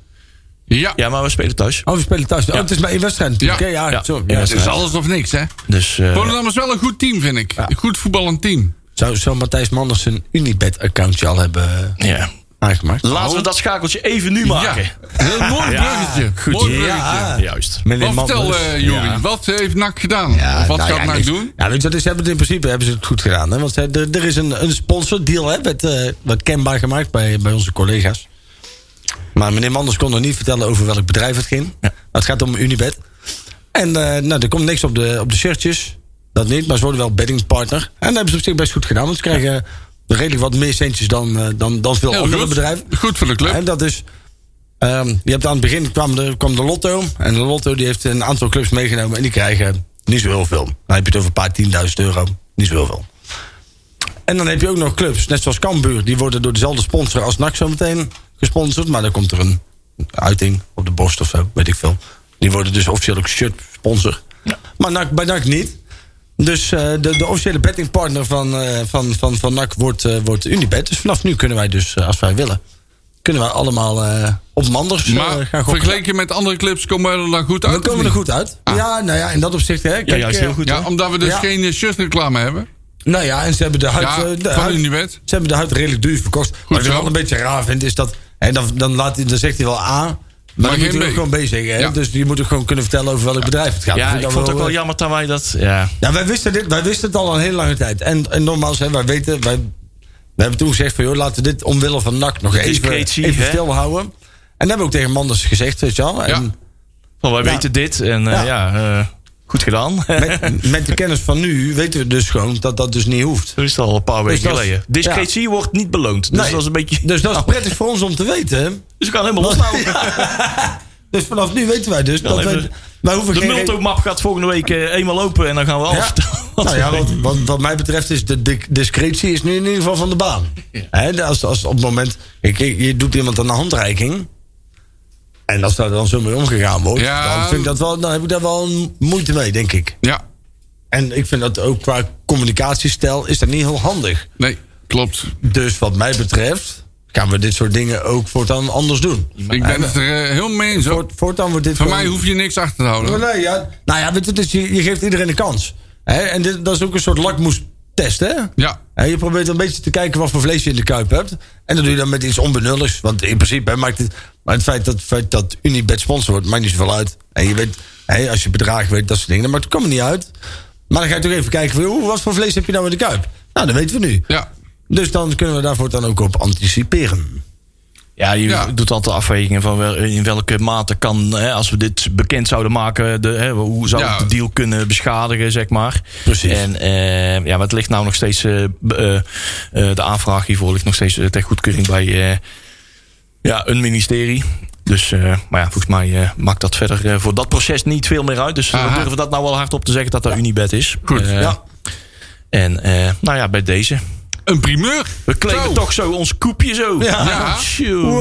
Ja.
Ja, maar we spelen thuis.
Oh, we spelen thuis. Oh,
Ja.
het is maar één wedstrijd natuurlijk.
Ja.
hè? Ja,
Ja.
sorry.
Ja,
Ja,
Het is alles of niks, hè?
Dus, eh,
Volendam is wel een goed team, vind ik. Een goed voetballend team.
Zou, zou Matthijs Manders een Unibet-accountje al hebben eh,
ja.
aangemaakt?
Laten we dat schakeltje even nu
Oh. Ja,
maken.
heel mooi bruggetje.
Goed,
mooi bruggetje.
ja. Juist.
Meneer
Wat vertel,
Manders.
eh Jori, wat heeft NAC gedaan?
Ja,
of wat
nou
gaat
ja,
NAC
niks.
doen?
Ja, dus dat is, hebben het in principe hebben ze het goed gedaan. Hè? Want ze- er, er is een, een sponsordeal, hè, werd, eh, werd kenbaar gemaakt bij, bij onze collega's. Maar meneer Manders kon nog niet vertellen over welk bedrijf het ging. Maar Het gaat om Unibed. En eh, nou, er komt niks op de, op de shirtjes. Dat niet, maar ze worden wel beddingpartner. En dat hebben ze op zich best goed gedaan. Want ze krijgen eh, redelijk wat meer centjes dan, eh, dan, dan veel
Heel
andere
Oh, goed.
bedrijven.
Goed voor de club.
En dat is. ehm, je hebt aan het begin kwam de, kwam de Lotto. En de Lotto die heeft een aantal clubs meegenomen. En die krijgen niet zo heel veel. Dan heb je het over een paar tienduizend euro. Niet zo heel veel. En dan heb je ook nog clubs, net zoals Cambuur. Die worden door dezelfde sponsor als NAC zo meteen gesponsord. Maar dan komt er een uiting op de borst of zo. Weet ik veel. Die worden dus officieel ook shirt sponsor. Maar NAC, bij NAC niet. Dus eh, de, de officiële bettingpartner van, eh, van, van, van NAC wordt, eh, wordt Unibet. Dus vanaf nu kunnen wij dus, eh, als wij willen... kunnen wij allemaal eh, op Manders eh,
maar
gaan gokken.
vergeleken met andere clubs komen we er dan goed uit.
We komen
of
er
niet?
goed uit. Ja, nou ja, in dat opzicht... Hè, kijk,
Ah. Ja, juist
eh,
heel goed.
Ja,
hoor.
omdat we dus
Ja.
geen eh, shirtreclame hebben.
Nou ja, en ze hebben de huid...
Ja,
eh, de
van
huid-
Unibet.
Ze hebben de huid redelijk duur verkocht. wat ik
zo.
wel een beetje raar vind is dat. En dan, dan, laat, hij- dan zegt hij wel A. Maar, dan
geen
moet hij ook
B.
gewoon B zeggen. hè?
Ja.
Dus je moet ook gewoon kunnen vertellen over welk bedrijf het gaat. Dat
Ja,
vind
ik
dan
vond het ook wel
eh,
jammer dat wij dat... Ja,
Ja, wij wisten, dit, wij wisten het al een hele lange tijd. En, en nogmaals, hè, wij weten. Wij, wij hebben toen gezegd van joh, laten we dit omwille van NAC nog even,
Discretie,
even
hè?
stilhouden. En dat hebben we ook tegen Manders gezegd, weet je wel. En
van wij
Ja.
weten dit en eh,
Ja.
ja, eh, goed gedaan.
met, met de kennis van nu weten we dus gewoon dat dat dus niet hoeft.
Zo is het al een paar weken
Dus dat is-
geleden.
ja.
Discretie wordt niet beloond. Dus
Nee.
dat is een beetje...
Dus dat is prettig voor ons om te weten. hè.
Dus we gaan helemaal loshouden.
Dus vanaf nu weten wij dus.
Wel
Dat
even-
wij, wij hoeven
De
geen re-
Multomap gaat volgende week eh, eenmaal lopen en dan gaan we alles
Ja.
vertellen.
Nou ja, wat, wat, wat mij betreft is de dic- discretie is nu in ieder geval van de baan. Hè, de- als, als op het moment, ik, ik- je doet iemand een handreiking. En als daar dan zo mee omgegaan wordt,
Ja.
dan, vind ik dat wel, dan heb ik daar wel een moeite mee, denk ik.
Ja,
En ik vind dat ook qua communicatiestijl is dat niet heel handig.
nee, klopt.
Dus wat mij betreft gaan we dit soort dingen ook voortaan anders doen.
Ik ben het er eh, heel mee eens. hoor.
Voort- voortaan wordt dit
Van
gewoon-
mij hoef je niks achter te houden.
Maar nee, ja, nou ja, weet je, het is- je, je geeft iedereen een kans. Hè, en dit, dat is ook een soort lakmoestest, hè?
Ja.
Hè, je probeert een beetje te kijken wat voor vlees je in de kuip hebt. En dat doe je dan met iets onbenulligs. Want in principe hè, maakt het... Maar het feit dat, feit dat Unibet sponsor wordt, maakt niet zoveel uit. En je weet, hè, als je bedragen weet, dat soort dingen. Maar het komt er niet uit. Maar dan ga je toch even kijken, van, oeh, wat voor vlees heb je nou in de kuip? Nou, dat weten we nu.
Ja.
Dus dan kunnen we daarvoor dan ook op anticiperen.
Ja, je
Ja.
doet altijd afwegingen van wel- in welke mate kan, hè, als we dit bekend zouden maken, de, hè, hoe zou
Ja.
het de deal kunnen beschadigen, zeg maar.
Precies.
En eh, ja, maar het ligt nou nog steeds, eh, b- eh, eh, de aanvraag hiervoor ligt nog steeds eh, ter goedkeuring bij eh, ja, een ministerie. Dus, eh, maar ja, volgens mij eh, maakt dat verder eh, voor dat proces niet veel meer uit. Dus we
Aha.
durven dat nou wel hardop te zeggen dat dat Unibed is.
Goed,
Eh,
ja.
En eh, nou ja, bij deze.
Een primeur.
We claimen
Zo.
toch zo ons koepje zo.
Ja.
Tjoe.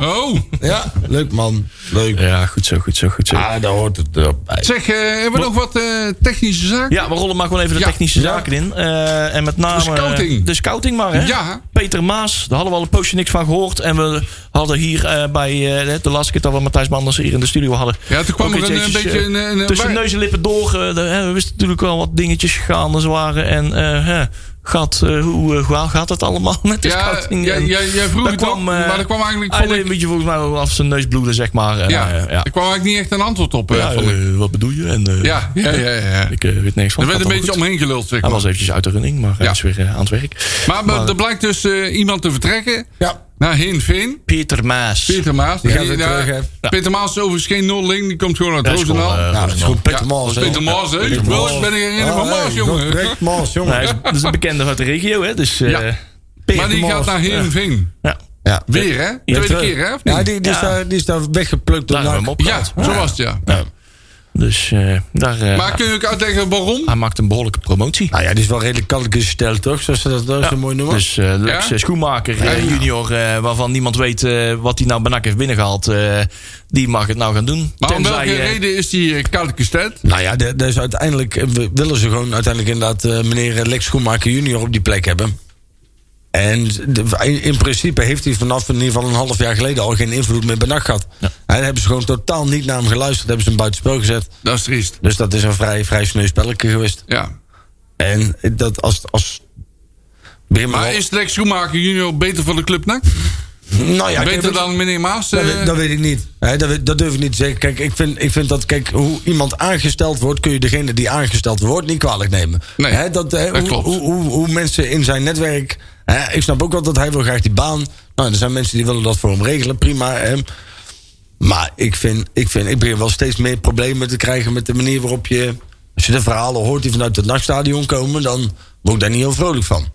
Oh.
Ja, leuk man. Leuk.
Ja, goed zo, goed zo, goed zo.
Ah, daar hoort het eh, bij.
Zeg, eh, hebben we nog wat eh, technische zaken?
Ja, we rollen maar gewoon even de
Ja.
technische
Ja.
zaken in. Eh, en met name
De scouting.
eh, de scouting maar, hè?
Ja.
Peter Maas, daar hadden we al een poosje niks van gehoord. En we hadden hier eh, bij eh, de laatste keer dat we Matthijs Manders hier in de studio hadden.
Ja, toen kwam
ook
er
iets
een,
eventjes,
beetje
eh,
een- een- een
tussen
waar-
neus en lippen door. eh, de- hè, we wisten natuurlijk wel wat dingetjes gaande waren. En eh, hè, gaat, eh, hoe eh, hoe gaat het allemaal met de
Ja,
scouting?
jij-
En
jij- jij vroeg
daar
het ook,
eh,
maar er kwam eigenlijk,
hij
vond
deed
ik-
een beetje volgens mij wel af zijn neus bloeden, zeg maar. En,
Ja.
eh, ja.
Er kwam eigenlijk niet echt een antwoord op. eh,
Ja,
vond ik.
eh, wat bedoel je? En, eh,
ja, ja, ja. ja.
Ik eh, weet niks van.
Er werd
Gaat
een
allemaal
beetje
goed.
omheen geluld, zeg
Hij
maar.
was eventjes uit de running, maar hij
Ja.
is weer eh, aan het werk.
Maar, maar er blijkt dus eh, iemand te vertrekken
Ja.
naar Hinveen.
Pieter Maas.
Peter Maas.
Die gaat weer
daar-
terug,
hè?
Peter Maas is overigens geen nulling. Die komt gewoon uit
Ja, is gewoon,
Roosendaal.
eh,
Nou, dat is gewoon Peter
Ja,
Maas.
dat
hè.
is Peter Maas, hè?
Peter
Ik wil- ik ben
Maas.
een herinnering
Ah,
van Maas,
hey,
jongen.
Peter Maas, jongen.
Nou, hij is, dat is een bekende uit de regio, hè? Dus, eh,
Ja. Maar die
Maas.
gaat naar Heerenveen.
ja.
Ja.
Weer, hè? Tweede keer, hè? Of niet?
Ja, Nou, die, die, Is
Ja.
daar, die is daar weggeplukt door
daar hebben we
NAC.
hem
Ja,
opgehaald.
zo was het, ja.
Dus eh, daar, eh,
Maar kun je ook uitleggen waarom?
hij maakt een behoorlijke promotie.
Nou ja, die is wel redelijk kalk gesteld, toch? Zoals ze dat, dat is
Ja.
een mooi noemen.
Dus eh Lex
Ja?
Schoenmaker, eh,
Ja.
junior, eh, waarvan niemand weet eh, wat hij nou bij NAC heeft binnengehaald, eh, die mag het nou gaan doen.
Maar om welke
eh,
reden is die eh, koud gesteld?
nou ja, de- dus eh, uiteindelijk eh, we- willen ze gewoon uiteindelijk inderdaad eh, meneer Lex Schoenmaker junior op die plek hebben. En de- in, in principe heeft hij vanaf in ieder geval een half jaar geleden al geen invloed meer bij NAC gehad. En dan hebben ze gewoon totaal niet naar hem geluisterd. Hebben ze hem buitenspel gezet.
Dat is triest.
Dus dat is een vrij, vrij sneu spelletje geweest.
Ja.
En dat als... als begin maar
Maar
al-
is Lex Schoenmaker junior beter voor de club NAC?
nou ja, kijk,
beter dan meneer Maas?
Dat,
eh?
weet- dat weet ik niet. Hè, dat, weet- dat durf ik niet te zeggen. Kijk, ik vind, ik vind dat, kijk, hoe iemand aangesteld wordt, kun je degene die aangesteld wordt niet kwalijk nemen.
Nee,
Hè, dat, hè,
dat
hoe,
klopt.
Hoe, hoe, hoe mensen in zijn netwerk. Hè, ik snap ook wel dat hij wil graag die baan. Nou, er zijn mensen die willen dat voor hem regelen, prima. Hè. Maar ik vind, ik vind, ik begin wel steeds meer problemen te krijgen met de manier waarop je. Als je de verhalen hoort die vanuit het nachtstadion komen, dan word ik daar niet heel vrolijk van.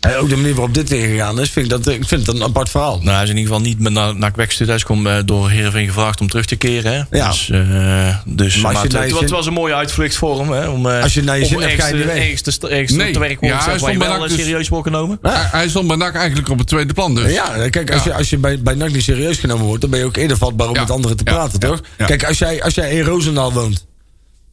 En ook de manier waarop dit weer gegaan is, vind ik, dat, ik vind het een apart verhaal.
Nou, hij is in ieder geval niet met na- NAC Wekstuur. Hij komt door Heerenveen gevraagd om terug te keren. Hè?
Ja.
Dus, eh, dus,
je
maar het,
naar je
het was-
zin-
het was een mooie uitvlucht voor hem. Hè? Om, eh,
Als je naar je
om
zin hebt,
ergens
ga je
te-
niet weg.
ergens te, ergens
Nee.
te werken
Ja,
ja,
hij
waar je
stond bij
wel
NAC
eh,
dus-
serieus wordt genomen.
Hij- Hij stond bij NAC eigenlijk op het tweede plan dus.
Ja, kijk, als,
Ja.
Je, als je bij, bij NAC niet serieus genomen wordt, dan ben je ook eerder vatbaar om
Ja.
met anderen te
Ja.
praten,
Ja.
toch?
Ja.
Kijk, als jij, als jij in Roosendaal woont.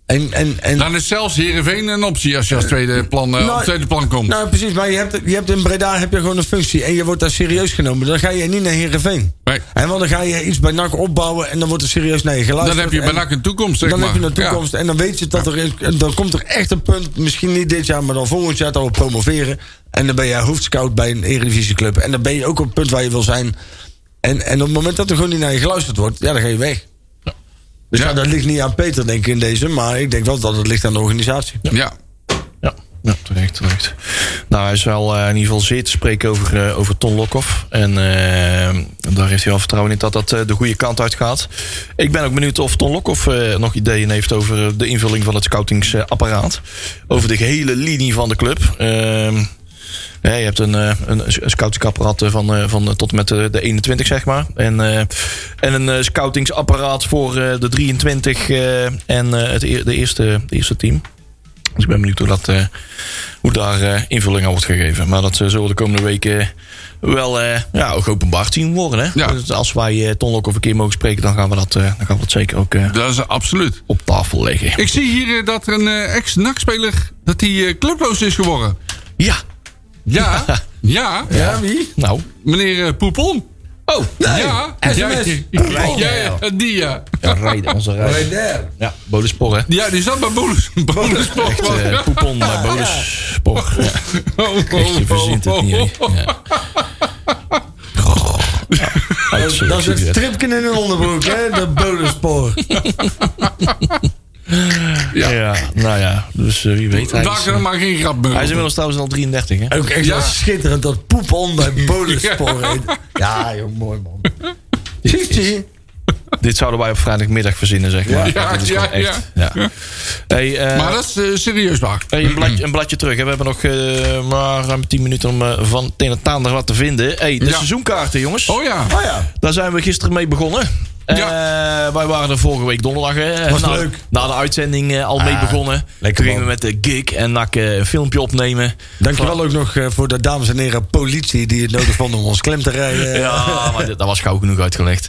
En, en, en,
Dan is zelfs Heerenveen een optie als je als tweede plan, eh, op het tweede plan komt.
nou, precies, maar je hebt, je hebt in Breda heb je gewoon een functie en je wordt daar serieus genomen. Dan ga je niet naar Herenveen.
Nee.
En want dan ga je iets bij NAC opbouwen en dan wordt er serieus naar je geluisterd.
dan heb je bij
En
NAC een toekomst, zeg
Dan
maar.
heb je een toekomst en dan weet je dat er is- dan komt er echt een punt, misschien niet dit jaar, maar dan volgend jaar dat we promoveren. En dan ben je hoofdscout bij een eredivisieclub. En dan ben je ook op het punt waar je wil zijn. En, en op het moment dat er gewoon niet naar je geluisterd wordt, ja, dan ga je weg. Dus
Ja.
ja. dat ligt niet aan Peter, denk ik, in deze. Maar ik denk wel dat het ligt aan de organisatie.
Ja. ja.
Ja, ja terecht, terecht. Nou, hij is wel eh, in ieder geval zeer te spreken over, eh, over Ton Lokhoff. En eh, daar heeft hij wel vertrouwen in dat dat eh, de goede kant uit gaat. Ik ben ook benieuwd of Ton Lokhoff eh, nog ideeën heeft over eh, de invulling van het scoutingsapparaat. Over de gehele linie van de club. Ehm, ja, je hebt een, eh, een scoutingsapparaat eh, van, eh, van eh, tot en met eh, de 21, zeg maar. En, eh, en een eh, scoutingsapparaat voor eh, de 23 eh, en eh, het, eer- de, eerste, de eerste team. Dus ik ben benieuwd hoe, dat, eh, hoe daar eh, invulling aan wordt gegeven. Maar dat eh, zullen we de komende weken wel eh, ja, ook openbaar zien worden. Hè?
Ja.
Dus als wij eh, Ton Lokhoff een keer mogen spreken, dan gaan we dat, eh, dan gaan we dat zeker ook eh,
Dat is absoluut.
op tafel leggen.
Ik zie hier eh, dat er een eh, ex-NAC-speler dat hij eh, clubloos is geworden.
Ja,
Ja. Ja.
Ja, wie?
nou.
Meneer eh, Poupon.
Oh,
Ja.
SMS.
Ja, ja,
Oh,
ja, ja, die ja.
Ja, rijden, onze rijden. Ja, Bodespor, hè?
Ja, die zat bij Bolus. Bolus Echt,
Eh, Poepon bij Bodespor. Ja. Echt, je verzint het niet. hè. Ja. Goh. Ja, uitzien,
Dat is het
zie je het.
stripken in een onderbroek, hè? De bodenspoor.
ja.
Ja, nou ja, dus eh, wie weet. Hij
Daar
is,
kan er
eh,
maar geen grap mee.
hij is inmiddels trouwens al 33, hè?
Ook echt
Ja.
wel schitterend dat poep onder het bodenspoor heet. Ja, joh, mooi man. Ziet je?
Dit zouden wij op vrijdagmiddag verzinnen, zeg maar.
Ja,
Dit is gewoon
ja,
echt. Ja. Hey, eh,
Maar dat is eh, serieus waar.
Hey, een, bladje, een bladje terug. Hè. We hebben nog eh, maar ruim 10 minuten om eh, van ten en taander wat te vinden. Hey, de
Ja.
seizoenkaarten, jongens.
Oh ja.
Oh ja.
Daar zijn we gisteren mee begonnen. Eh, wij waren er vorige week donderdag. Hè,
Was
na,
leuk. Ah,
Na de uitzending eh, al mee begonnen.
lekker
Toen gingen we
man.
met de gig en nak eh, een filmpje opnemen.
Dankjewel ook nog eh, voor de dames en heren politie die het nodig vonden om ons klem te
eh,
rijden.
Ja, maar dit- dat was gauw genoeg uitgelegd.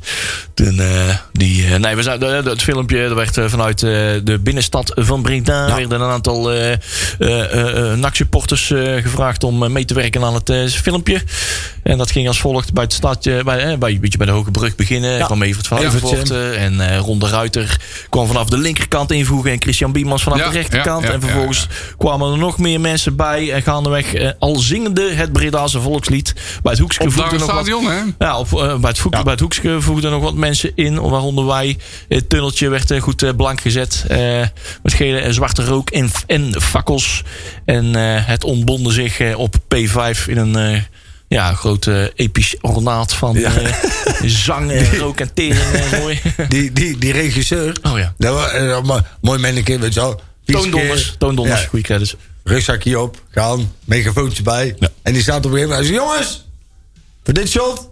Toen, eh, die, eh, nee, we zijn, eh, het filmpje dat werd eh, vanuit eh, de binnenstad van Breda... werden een aantal eh eh, eh, NAC-supporters eh, gevraagd om eh, mee te werken aan het eh, filmpje. En dat ging als volgt bij het stadje, bij, eh, bij, een beetje bij de Hoge Brug beginnen. Ik kwam even van
Evert,
Overvoort eh, en eh Ron de Ruiter kwam vanaf de linkerkant invoegen... en Christian Biemans vanaf
Ja,
de rechterkant.
ja, ja,
en vervolgens
ja, ja.
kwamen er nog meer mensen bij. En gaandeweg eh, al zingende het Bredaanse volkslied. Bij het Hoekske
Op
voegde
het
nog wat-
stadion, hè?
ja, op, eh, bij, het voet, bij het hoekje voegden nog wat mensen in. Waaronder wij. Het tunneltje werd eh, goed eh, blank gezet. eh, met gele en zwarte rook en, en fakkels. En eh, het ontbonde zich eh, op P5 in een... eh, ja, groot eh, episch ornaat van eh, zang en rook en tering en mooi.
Die, die, die regisseur.
Oh ja.
Dat was, eh, dat was mooi manneke, weet je wel. Vies
Toon Donders.
keer.
Toon Donders,
Ja,
goede credits.
rugzakje op, gaan, megafoontje bij. En die staat op een gegeven moment. Hij zegt, jongens, voor dit shot,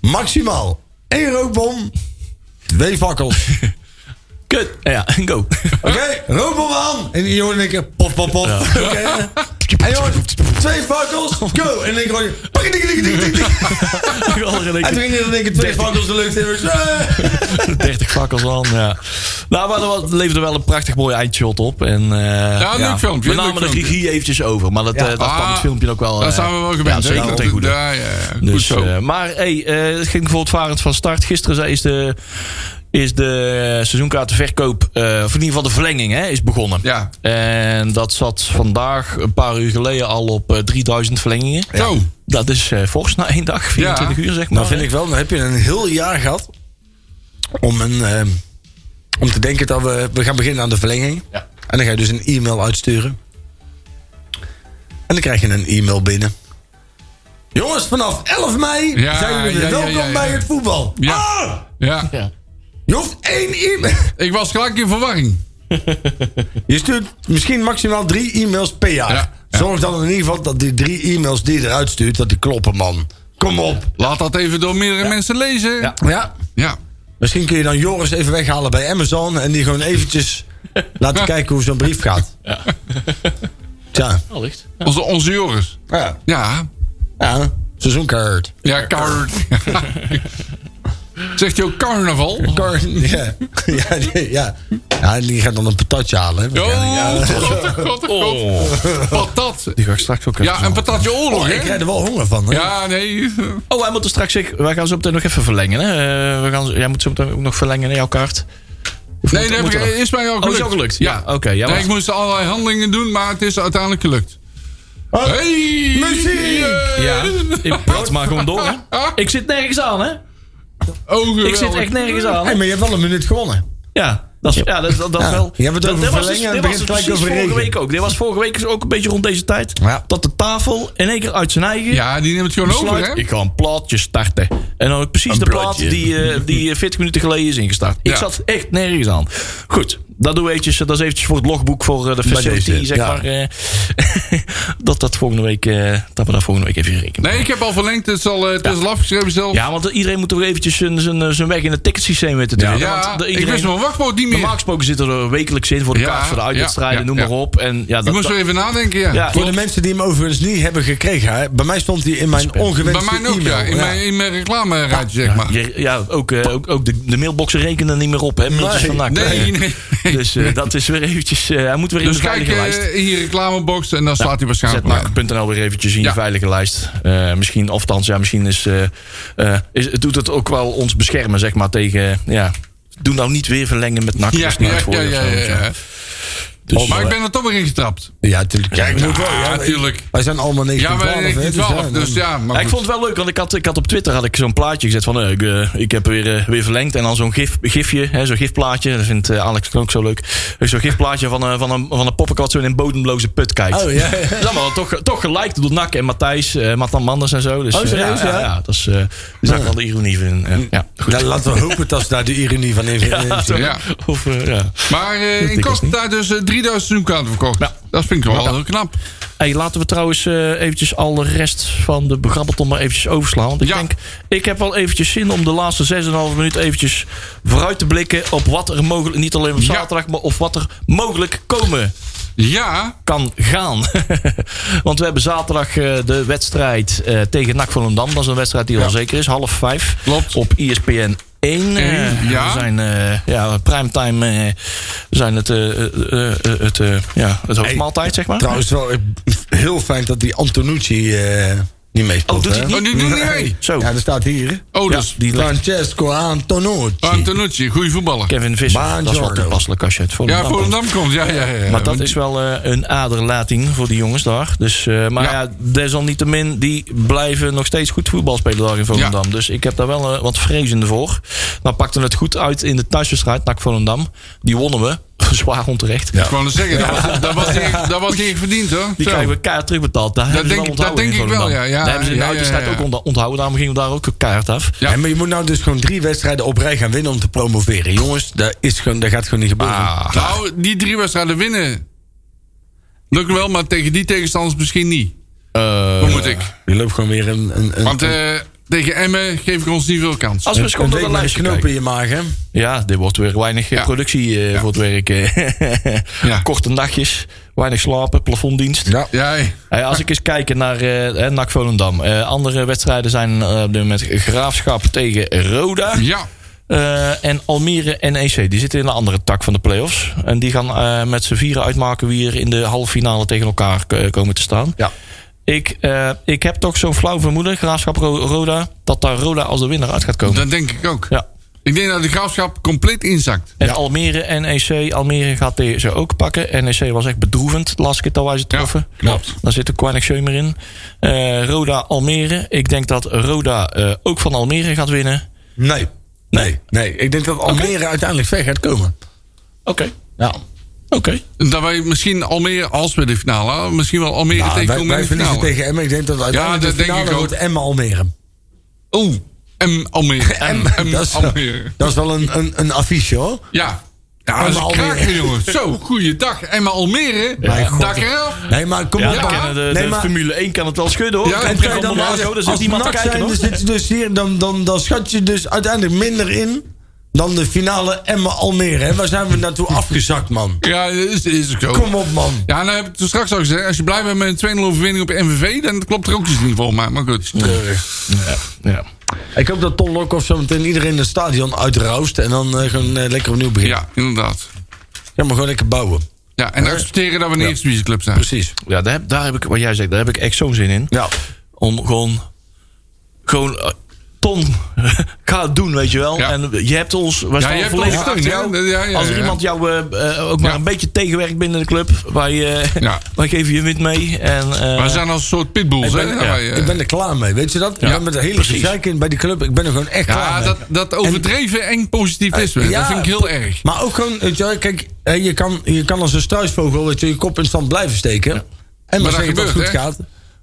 maximaal één rookbom, twee fakkels.
Kut. Ja, go.
Oké, rookbom aan. En die jongen en ik, pof, pof, pof. Oké. En je hoort twee fakkels, go! En ik hoor je... pak, dik, dik, dik, dik, dik. En toen ging er in één keer twee fakkels de lucht in. en ik zo, eh.
30 fakkels aan, ja. Nou, maar dat was- leverde wel een prachtig mooi eindshot op. En, eh, ja,
leuk filmpje,
We
leuk
namen de
filmpje.
regie eventjes over. Maar dat, eh dat
Ah,
kwam het filmpje ook wel...
Daar
eh,
zijn we wel gewend.
Ja, zeker
hè?
ten goede.
Ja, ja, ja. Goed
Dus,
zo.
eh, maar hey, eh, het ging voortvarend van start. Gisteren zei- is de, is de seizoenkaartenverkoop, eh, of in ieder geval de verlenging, hè, is begonnen.
ja.
En dat zat vandaag, een paar uur geleden, al op eh, 3000 verlengingen.
Zo.
Dat is eh fors na één dag, 24 uur zeg maar.
Nou vind ik wel, dan heb je een heel jaar gehad om, een, ehm, om te denken dat we, we gaan beginnen aan de verlenging.
Ja.
En dan ga je dus een e-mail uitsturen. En dan krijg je een e-mail binnen. Jongens, vanaf 11 mei
Ja,
zijn jullie
ja, ja,
welkom
ja, ja.
bij het voetbal.
Ja.
Ah,
Ja.
je hoeft één e-mail.
Ik was gelijk in verwarring.
Je stuurt misschien maximaal drie e-mails per jaar.
Ja, ja.
Zorg dan in ieder geval dat die drie e-mails die je eruit stuurt, dat die kloppen, man. Kom op.
Laat dat even door meerdere mensen lezen. Ja.
Ja, Misschien kun je dan Joris even weghalen bij Amazon en die gewoon eventjes laten kijken hoe zo'n brief gaat. Ja. Tja.
Allicht.
Onze, onze Joris.
Ja.
Ja.
ja. Seizoenkaart.
Ja, car. Zegt hij ook carnaval?
Kaart. Ja. Ja, die- ja. ja, die gaat dan een patatje halen. hè.
Oh, god, god, oh, god.
Oh.
Patat.
Die ga ik straks ook
Ja, een patatje oorlog,
Oh, ik
hè?
krijg er wel honger van. Hè?
Ja, nee.
Oh, wij moeten straks... Ik, wij gaan zo meteen nog even verlengen. Hè? Eh, we gaan, zo- jij moet zo meteen ook nog verlengen in jouw kaart. Of
Nee,
moet-
dat heb
moet
ik,
er-
is mij al
Oh,
gelukt.
is al gelukt? Ja, oké, ja,
Nee,
maar-
ik moest allerlei handelingen doen, maar het is uiteindelijk gelukt.
Oh,
Hey!
muziek!
Ja, ik praat maar gewoon door. Hè? Ik zit nergens aan, hè?
Oh, geweldig.
Ik zit echt nergens aan.
Hey,
hè?
maar je hebt wel een minuut gewonnen.
Ja, dat, is, ja, dat, dat, dat
Ja,
wel.
je hebt het
dat,
over
dit was dus-
verlengen en
dit
het begint
was
gelijk
precies
over
vorige
regen.
week ook. Dit was vorige week dus ook een beetje rond deze tijd.
Ja.
Dat de tafel in één keer uit zijn eigen...
Ja, die neemt het gewoon over,
besluit,
hè?
Ik ga een plaatje starten. En dan ook precies
Een
de plaat
plaatje.
die, eh, die eh, 40 minuten geleden is ingestart. Ik
Ja.
zat echt nergens aan. Goed, dat doen we eventjes. eh, Dat is eventjes voor het logboek voor eh, de facility,
deze,
zeg
ja.
maar. eh, dat, dat, volgende week, eh, dat we dat volgende week even rekenen.
Nee, ik heb al verlengd. Het is al, eh, het is al afgeschreven zelf.
Ja, want iedereen moet toch eventjes zijn, zijn, zijn weg in het ticketsysteem weten te
Ja,
doen. want de-
ik wist mijn wachtwoord niet meer.
Normaal gesproken zit er wekelijks in voor de
Ja,
kaart, voor de uitwedstrijden,
ja,
noem
ja.
maar op. En ja,
Ik
dat,
moest
dat-
weer even nadenken, ja.
ja,
Voor de mensen die hem overigens niet hebben gekregen. Hè, bij mij stond hij in mijn
Bij
ongewenste
mij ook,
e-mail.
ja. In mijn, in mijn reclameraadje, zeg maar.
je- ja, ook, eh, ook, ook de, de mailboxen rekenen niet meer op, hè? mailtjes
Nee,
van NAC.
Nee, nee.
Dus eh, dat is weer eventjes... eh, hij moet weer in
Dus
de
kijk
veilige lijst.
eh, in je reclamebox en dan staat hij waarschijnlijk
Zet
wel aan.
NAC.nl weer eventjes in
Ja.
je veilige lijst. Eh, misschien, of thans, ja, misschien is, eh, eh, is, het doet het ook wel ons beschermen, zeg maar, tegen... Ja, doe nou niet weer verlengen met NAC.
Ja,
dat is niet
ja,
goed voor
ja,
je
ja,
of zo,
ja, ja.
Dus,
Oh, Maar ik
eh,
ben er toch weer in getrapt.
Ja, natuurlijk. Ja, ik moet wel.
Ja, natuurlijk.
Wij zijn allemaal
Ja,
1912.
maar ik
hè, dus ja,
12, dus
dan-
ja. Maar
Ja, ik vond het wel leuk, want ik had, ik had op Twitter had ik zo'n plaatje gezet van... eh, ik, eh, ik heb weer, eh, weer verlengd. En dan zo'n gif, gifje, hè, zo'n gifplaatje. Dat vindt eh, Alex ook zo leuk. Zo'n gifplaatje van, eh, van, een, van een poppenkot wat zo in een bodemloze put kijkt.
Oh, ja.
Dat is allemaal toch, toch gelijk door Nak en Matthijs, eh Matan Manders en zo. Dus,
Oh,
eh,
serieus,
ja,
ja?
ja, ja, dat is, eh daar zag ik wel de ironie in. eh, ja, goed.
Nou, laten we hopen dat ze daar de ironie van in in-
Zo.
ja.
Of, eh, ja.
Maar eh, in
ik
korte
niet.
tijd dus eh, 3000 seizoenkaarten verkocht.
Ja.
Dat vind ik wel heel knap.
Hey, laten we trouwens eh, eventjes al de rest van de begrabbelton maar eventjes overslaan. Want ik
Ja.
denk, ik heb wel eventjes zin om de laatste 6,5 minuut eventjes vooruit te blikken op wat er mogelijk, niet alleen op
Ja.
zaterdag, maar of wat er mogelijk komen
Ja,
kan gaan. Want we hebben zaterdag eh, de wedstrijd eh, tegen NAC Volendam. Dat is een wedstrijd die al zeker is. Half vijf.
Klopt.
Op E ESPN 1.
Eén, ja.
We zijn eh ja, primetime. eh, we zijn het, eh, eh, eh, eh, het, eh, ja, het hoofdmaaltijd, zeg maar.
Trouwens, wel eh, heel fijn dat die Antonucci eh, niet meespeelt.
Oh, doet hij
hè?
het
oh, die doen niet mee.
Zo.
Ja, dat staat hier.
Oh,
Ja,
dus
die ligt-
Francesco Antonucci.
Antonucci, goede voetballer.
Kevin Visser.
Baan
dat is wel
Giorno.
toepasselijk als je het
Ja,
Volendam komt.
Volendam komt. Ja, ja, ja. ja.
Maar dat is wel eh, een aderlating voor die jongens daar. Dus, eh, maar
Ja.
ja. desalniettemin, die blijven nog steeds goed voetbal spelen daar in Volendam. Dus ik heb daar wel eh, wat vrezen voor. Maar pakte het goed uit in de thuiswedstrijd, NAC Volendam. Die wonnen we, zwaar onterecht.
Ik wou net zeggen, dat was, dat, was niet, dat was niet echt verdiend hoor.
Die
Zo.
krijgen we kaart terugbetaald. Daar hebben ze
denk
wel
ik- dat
onthouden
denk
in
ik wel,
Volendam.
ja, ja,
Daar hebben ze in
ja,
de
ja,
uitwedstrijd
ja.
ook ontha- onthouden. Daarom gingen we daar ook een kaart af.
Ja.
Ja. maar je moet nou dus gewoon drie wedstrijden op rij gaan winnen om te promoveren. Jongens, dat, is gewoon, dat gaat gewoon niet gebeuren.
Nou, die drie wedstrijden winnen. Lukt wel, Eh, maar tegen die tegenstanders misschien niet. Hoe moet ik?
Eh.
Je loopt gewoon weer een... een, een
Want eh, tegen Emmen geef ik ons niet veel kans.
Als we eens
Een
komen
week
een
met een
lijstje
knoop in
kijken.
je maag, hè?
Ja, dit wordt weer weinig eh,
Ja.
productie eh, voor het werk. eh.
Ja.
Korte nachtjes, weinig slapen, plafonddienst.
Ja, ja.
Hey, Eh, als ik eens kijk naar eh, eh, NAC Volendam. Eh, andere wedstrijden zijn eh, op dit moment Graafschap tegen Roda.
ja.
Eh, en Almere NEC. Die zitten in een andere tak van de play-offs. En die gaan eh, met z'n vieren uitmaken wie er in de halve finale tegen elkaar eh, komen te staan.
Ja.
Ik, eh, ik heb toch zo'n flauw vermoeden, Graafschap Ro- Roda, dat daar Roda als de winnaar uit gaat komen.
dat denk ik ook.
Ja.
Ik denk dat de graafschap compleet inzakt.
En Almere, NEC. Almere gaat deze ook pakken. NEC was echt bedroevend, last keer dat wij ze troffen.
klopt.
Daar zit ook weinig scheumer in. Eh, Roda, Almere. Ik denk dat Roda eh, ook van Almere gaat winnen.
Nee. Nee. Nee. Ik denk dat Almere uiteindelijk ver gaat komen.
Oké.
Ja.
Oké.
Dat wij misschien Almere, als we de finale halen, misschien wel Almere
Nou, wij,
tegenkomen in
wij
de
verliezen
finale.
tegen Emmen. Ik denk dat uiteindelijk
dat
de
denk
finale
ik ook.
wordt Emmen-Almere.
Oeh, M Almere. M, M
dat, is, eh,
Almere.
dat is wel een, een, een affiche, hoor.
Ja. Ja, dat is
Emma
een
Almere.
kraker, jongen. Zo, goeiedag. Emma Almere.
Mijn god.
Dak eraf.
Nee, maar kom
Ja,
op.
dan
maar-
kennen de,
nee,
de
maar-
Formule 1 kan het wel schudden hoor.
Ja,
Ja,
en
en
kijk
van
dan
de Mario, daar zit
als
niemand te
NAC
kijken
zijn,
hoor.
dan zit je dus hier, dan, dan, dan schat je dus uiteindelijk minder in dan de finale Emmen-Almere. hè. Waar zijn we naartoe afgezakt, man?
Ja, dat is, is ook zo.
Kom op, man.
Ja, nou heb ik het straks al gezegd. Als je blij bent met een 2-0 overwinning op MVV, dan klopt er ook iets niet voor. Maar, maar goed.
Ja.
Ik hoop dat Ton Lokhoff zo meteen iedereen in het stadion uitroost. En dan eh, gewoon eh, lekker opnieuw beginnen. Ja.
Ja, inderdaad.
maar gewoon lekker bouwen.
Ja, en accepteren dat we een eerste divisieclub zijn.
Precies.
Ja, daar, heb, daar heb ik, wat jij zegt, daar heb ik echt zo'n zin in.
Ja.
Om gewoon, gewoon eh, ton, ga het doen, weet je wel.
Ja.
En je hebt ons, we
Ja, je
staan
hebt
volledig
ons steun,
achter
hè?
jou.
Ja, ja, ja,
Als er
ja.
iemand jou eh, eh, ook maar
Ja.
een beetje tegenwerkt binnen de club, wij, eh,
Ja.
wij geven je wind mee. En, eh,
Maar we zijn als een soort pitbulls,
Ik
hè?
ben,
Ja, wij, eh,
ik ben er klaar mee, weet je dat? Ik ben met de hele
precies.
gezeik in bij die club. Ik ben er gewoon echt klaar
ja
mee. Eh,
dat, dat overdreven eng positivisme.
Ja,
dat vind ik heel erg.
Maar ook gewoon, weet je wel, kijk, hè, je kan, je kan als een struisvogel dat je, je kop in stand blijven steken. En
dat
maar zeggen dat het goed
gebeurt, hè?
gaat.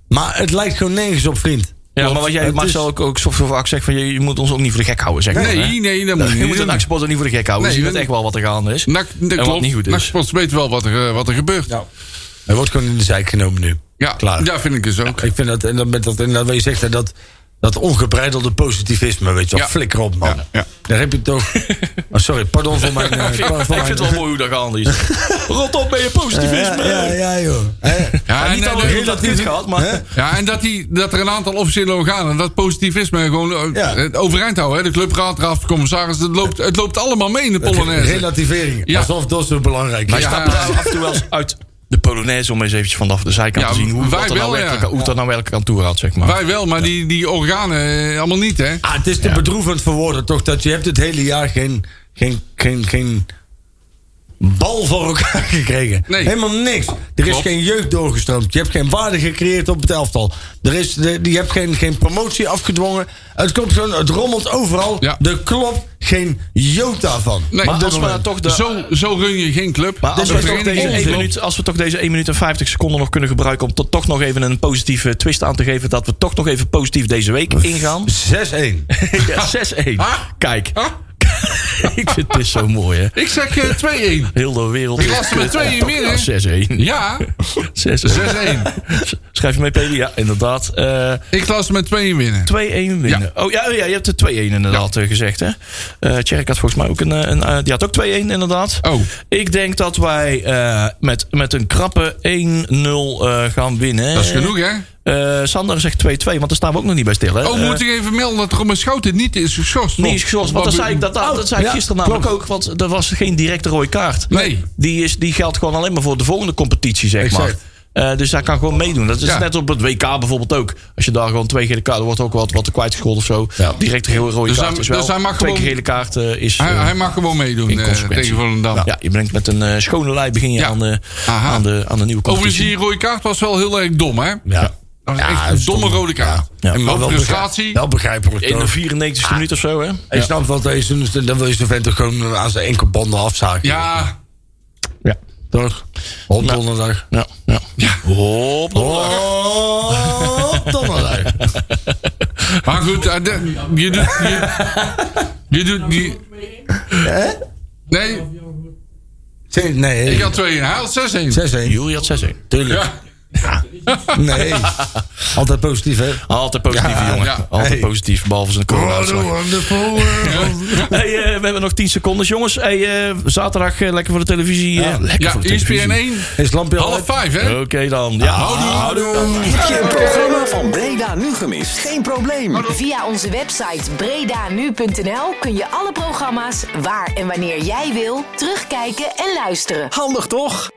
Maar het lijkt gewoon nergens op, vriend.
ja, maar wat jij,
Het is-
Marcel, ook, ook zo vaak zegt, van, je, je moet ons ook niet voor de gek houden. Zeg maar, hè? Nou,
Nee, nee, dat moet
Je
niet.
moet een
doen.
actiepotter niet voor de gek houden.
Nee,
je weet
dat-
echt wel wat er gaande is.
Nak, dat
en wat
klopt.
niet goed is.
Naksport weet wel wat er, eh, wat er gebeurt. Ja,
Ja. Hij wordt gewoon in de zijk genomen nu.
ja,
Klaar.
vind ik dus ook.
Ik vind dat, en dat, met dat, en dat wat je zegt, hè, dat, dat ongebreidelde positivisme, weet je wel.
Ja.
Flikker op, man.
Ja, ja.
Daar heb je toch... Oh, sorry, pardon voor mijn... eh,
Ik
pardon voor
vind
mijn-
het wel mooi hoe dat gaande is. Rot op met je positivisme.
Ja, ja, ja, joh. Hè?
Ja,
niet
en,
dat
en-
we dat dit gehad, maar...
Hè?
Ja, en dat, die, dat er een aantal officiële organen dat positivisme gewoon eh,
Ja.
het overeind houden. Hè? De clubraad, de raad van commissaris, het loopt, het loopt allemaal mee in de Polonaise.
Relativering.
Ja.
Alsof dat zo belangrijk
Wij
is.
Ja.
stappen daar af en toe wel eens uit de Polonaise om eens eventjes vanaf de zijkant
Ja,
te zien hoe
wij
wat er nou
wel, ja.
werkelijk, hoe dat nou werkelijk aan toe gaat, zeg maar.
Wij wel, maar die, die organen eh, allemaal niet, hè?
Ah, het is te bedroevend voor woorden, toch? Dat je hebt het hele jaar geen, geen, geen, geen bal voor elkaar gekregen.
Nee.
Helemaal niks. Er is
Klopt.
geen jeugd doorgestroomd. Je hebt geen waarde gecreëerd op het elftal. Er is, de, je hebt geen, geen promotie afgedwongen. Het, komt gewoon, het rommelt overal.
Ja.
Er klopt geen jota van.
Nee,
Maar
op dit
als we
moment.
nou toch de-
zo, zo run je geen club.
Maar als
De
we, toch
vereniging
deze 1
ongelooflijk.
minuut, als we toch deze 1 minuut en 50 seconden nog kunnen gebruiken... om to- toch nog even een positieve twist aan te geven... dat we toch nog even positief deze week ingaan.
6-1.
Ja, 6-1. Kijk. Ik vind dit zo mooi, hè.
Ik zeg eh, 2-1.
Heel de wereld...
Ik las er met 2-1 meer, hè?
Ja, 6-1.
Ja,
6-1.
6-1.
Schrijf je mee, Peli? Ja, inderdaad. Eh, 2-1
Ik las er met 2-1 winnen.
winnen. Oh ja, ja, je hebt het 2-1 inderdaad eh, gezegd. hè? Eh Tjerk had volgens mij ook een... eh, een eh, die had ook 2-1 inderdaad.
Oh.
Ik denk dat wij eh, met, met een krappe 1-0 eh, gaan winnen.
Dat is genoeg, hè?
Eh, Sander zegt 2-2, want daar staan we ook nog niet bij stil. Hè? Eh,
Oh, moet ik even melden dat Romme Schouten niet is geschorst?
Nee, geschorst. Want dat zei ik, dat, dat, dat zei ik
ja,
gisteren namelijk ook. Want er was geen directe rode kaart.
Nee.
Die, is, die geldt gewoon alleen maar voor de volgende competitie, zeg
Exact.
maar. Eh, dus daar kan gewoon meedoen. Dat is
Ja.
net op het WK bijvoorbeeld ook. Als je daar gewoon twee gele kaarten wordt ook wat, wat kwijtgescholden of zo.
Ja.
Direct een rode
Dus
kaart
hij-
is wel.
dus hij mag
twee keer
gewoon-
gele kaart eh, is...
Hij,
eh,
hij mag gewoon meedoen
in
eh,
consequentie.
tegen Volendam.
ja, je brengt met een eh, schone lijn begin je
Ja.
aan, de,
Aha.
aan, de, aan de nieuwe
Overigens, die
competitie.
rode kaart was wel heel erg dom, hè?
Ja.
Dat was
Ja,
echt
dat
een
is
domme
dom.
rode kaart.
Ja.
En
Wat
Nou, wel
frustratie.
begrijp- Wel begrijpelijk,
In de
toch?
94e minuut of zo, hè?
Ik snap wat dat is. Dan wil je zo'n vent toch gewoon aan zijn enkelbanden afzagen.
Ja,
Ja.
Toch? Op donderdag.
Ja. ja. Hop, donderdag.
Op donderdag.
maar goed, eh, de- je doet... Je, je doet... Je, nee,
Nee,
ik
nee.
had 2-1. Hij had 6-1.
6-1.
Jury had 6-1.
Tuurlijk.
Ja.
Nee. Altijd positief, hè?
Altijd positief,
Ja,
jongen.
ja.
Altijd
Hey.
positief, behalve zijn corona
wonderful
hey, eh, We hebben nog 10 seconden, jongens. Hey, eh, zaterdag eh, lekker voor de televisie. eh, lekker
Ja,
voor de televisie.
ESPN 1,
Is het lampje al
half
uit?
vijf, hè?
Oké dan. Ja,
Heb je een programma van Breda nu gemist? Geen probleem.
Via onze website bredanu.nl kun je alle programma's waar en wanneer jij wil terugkijken en luisteren.
Handig toch?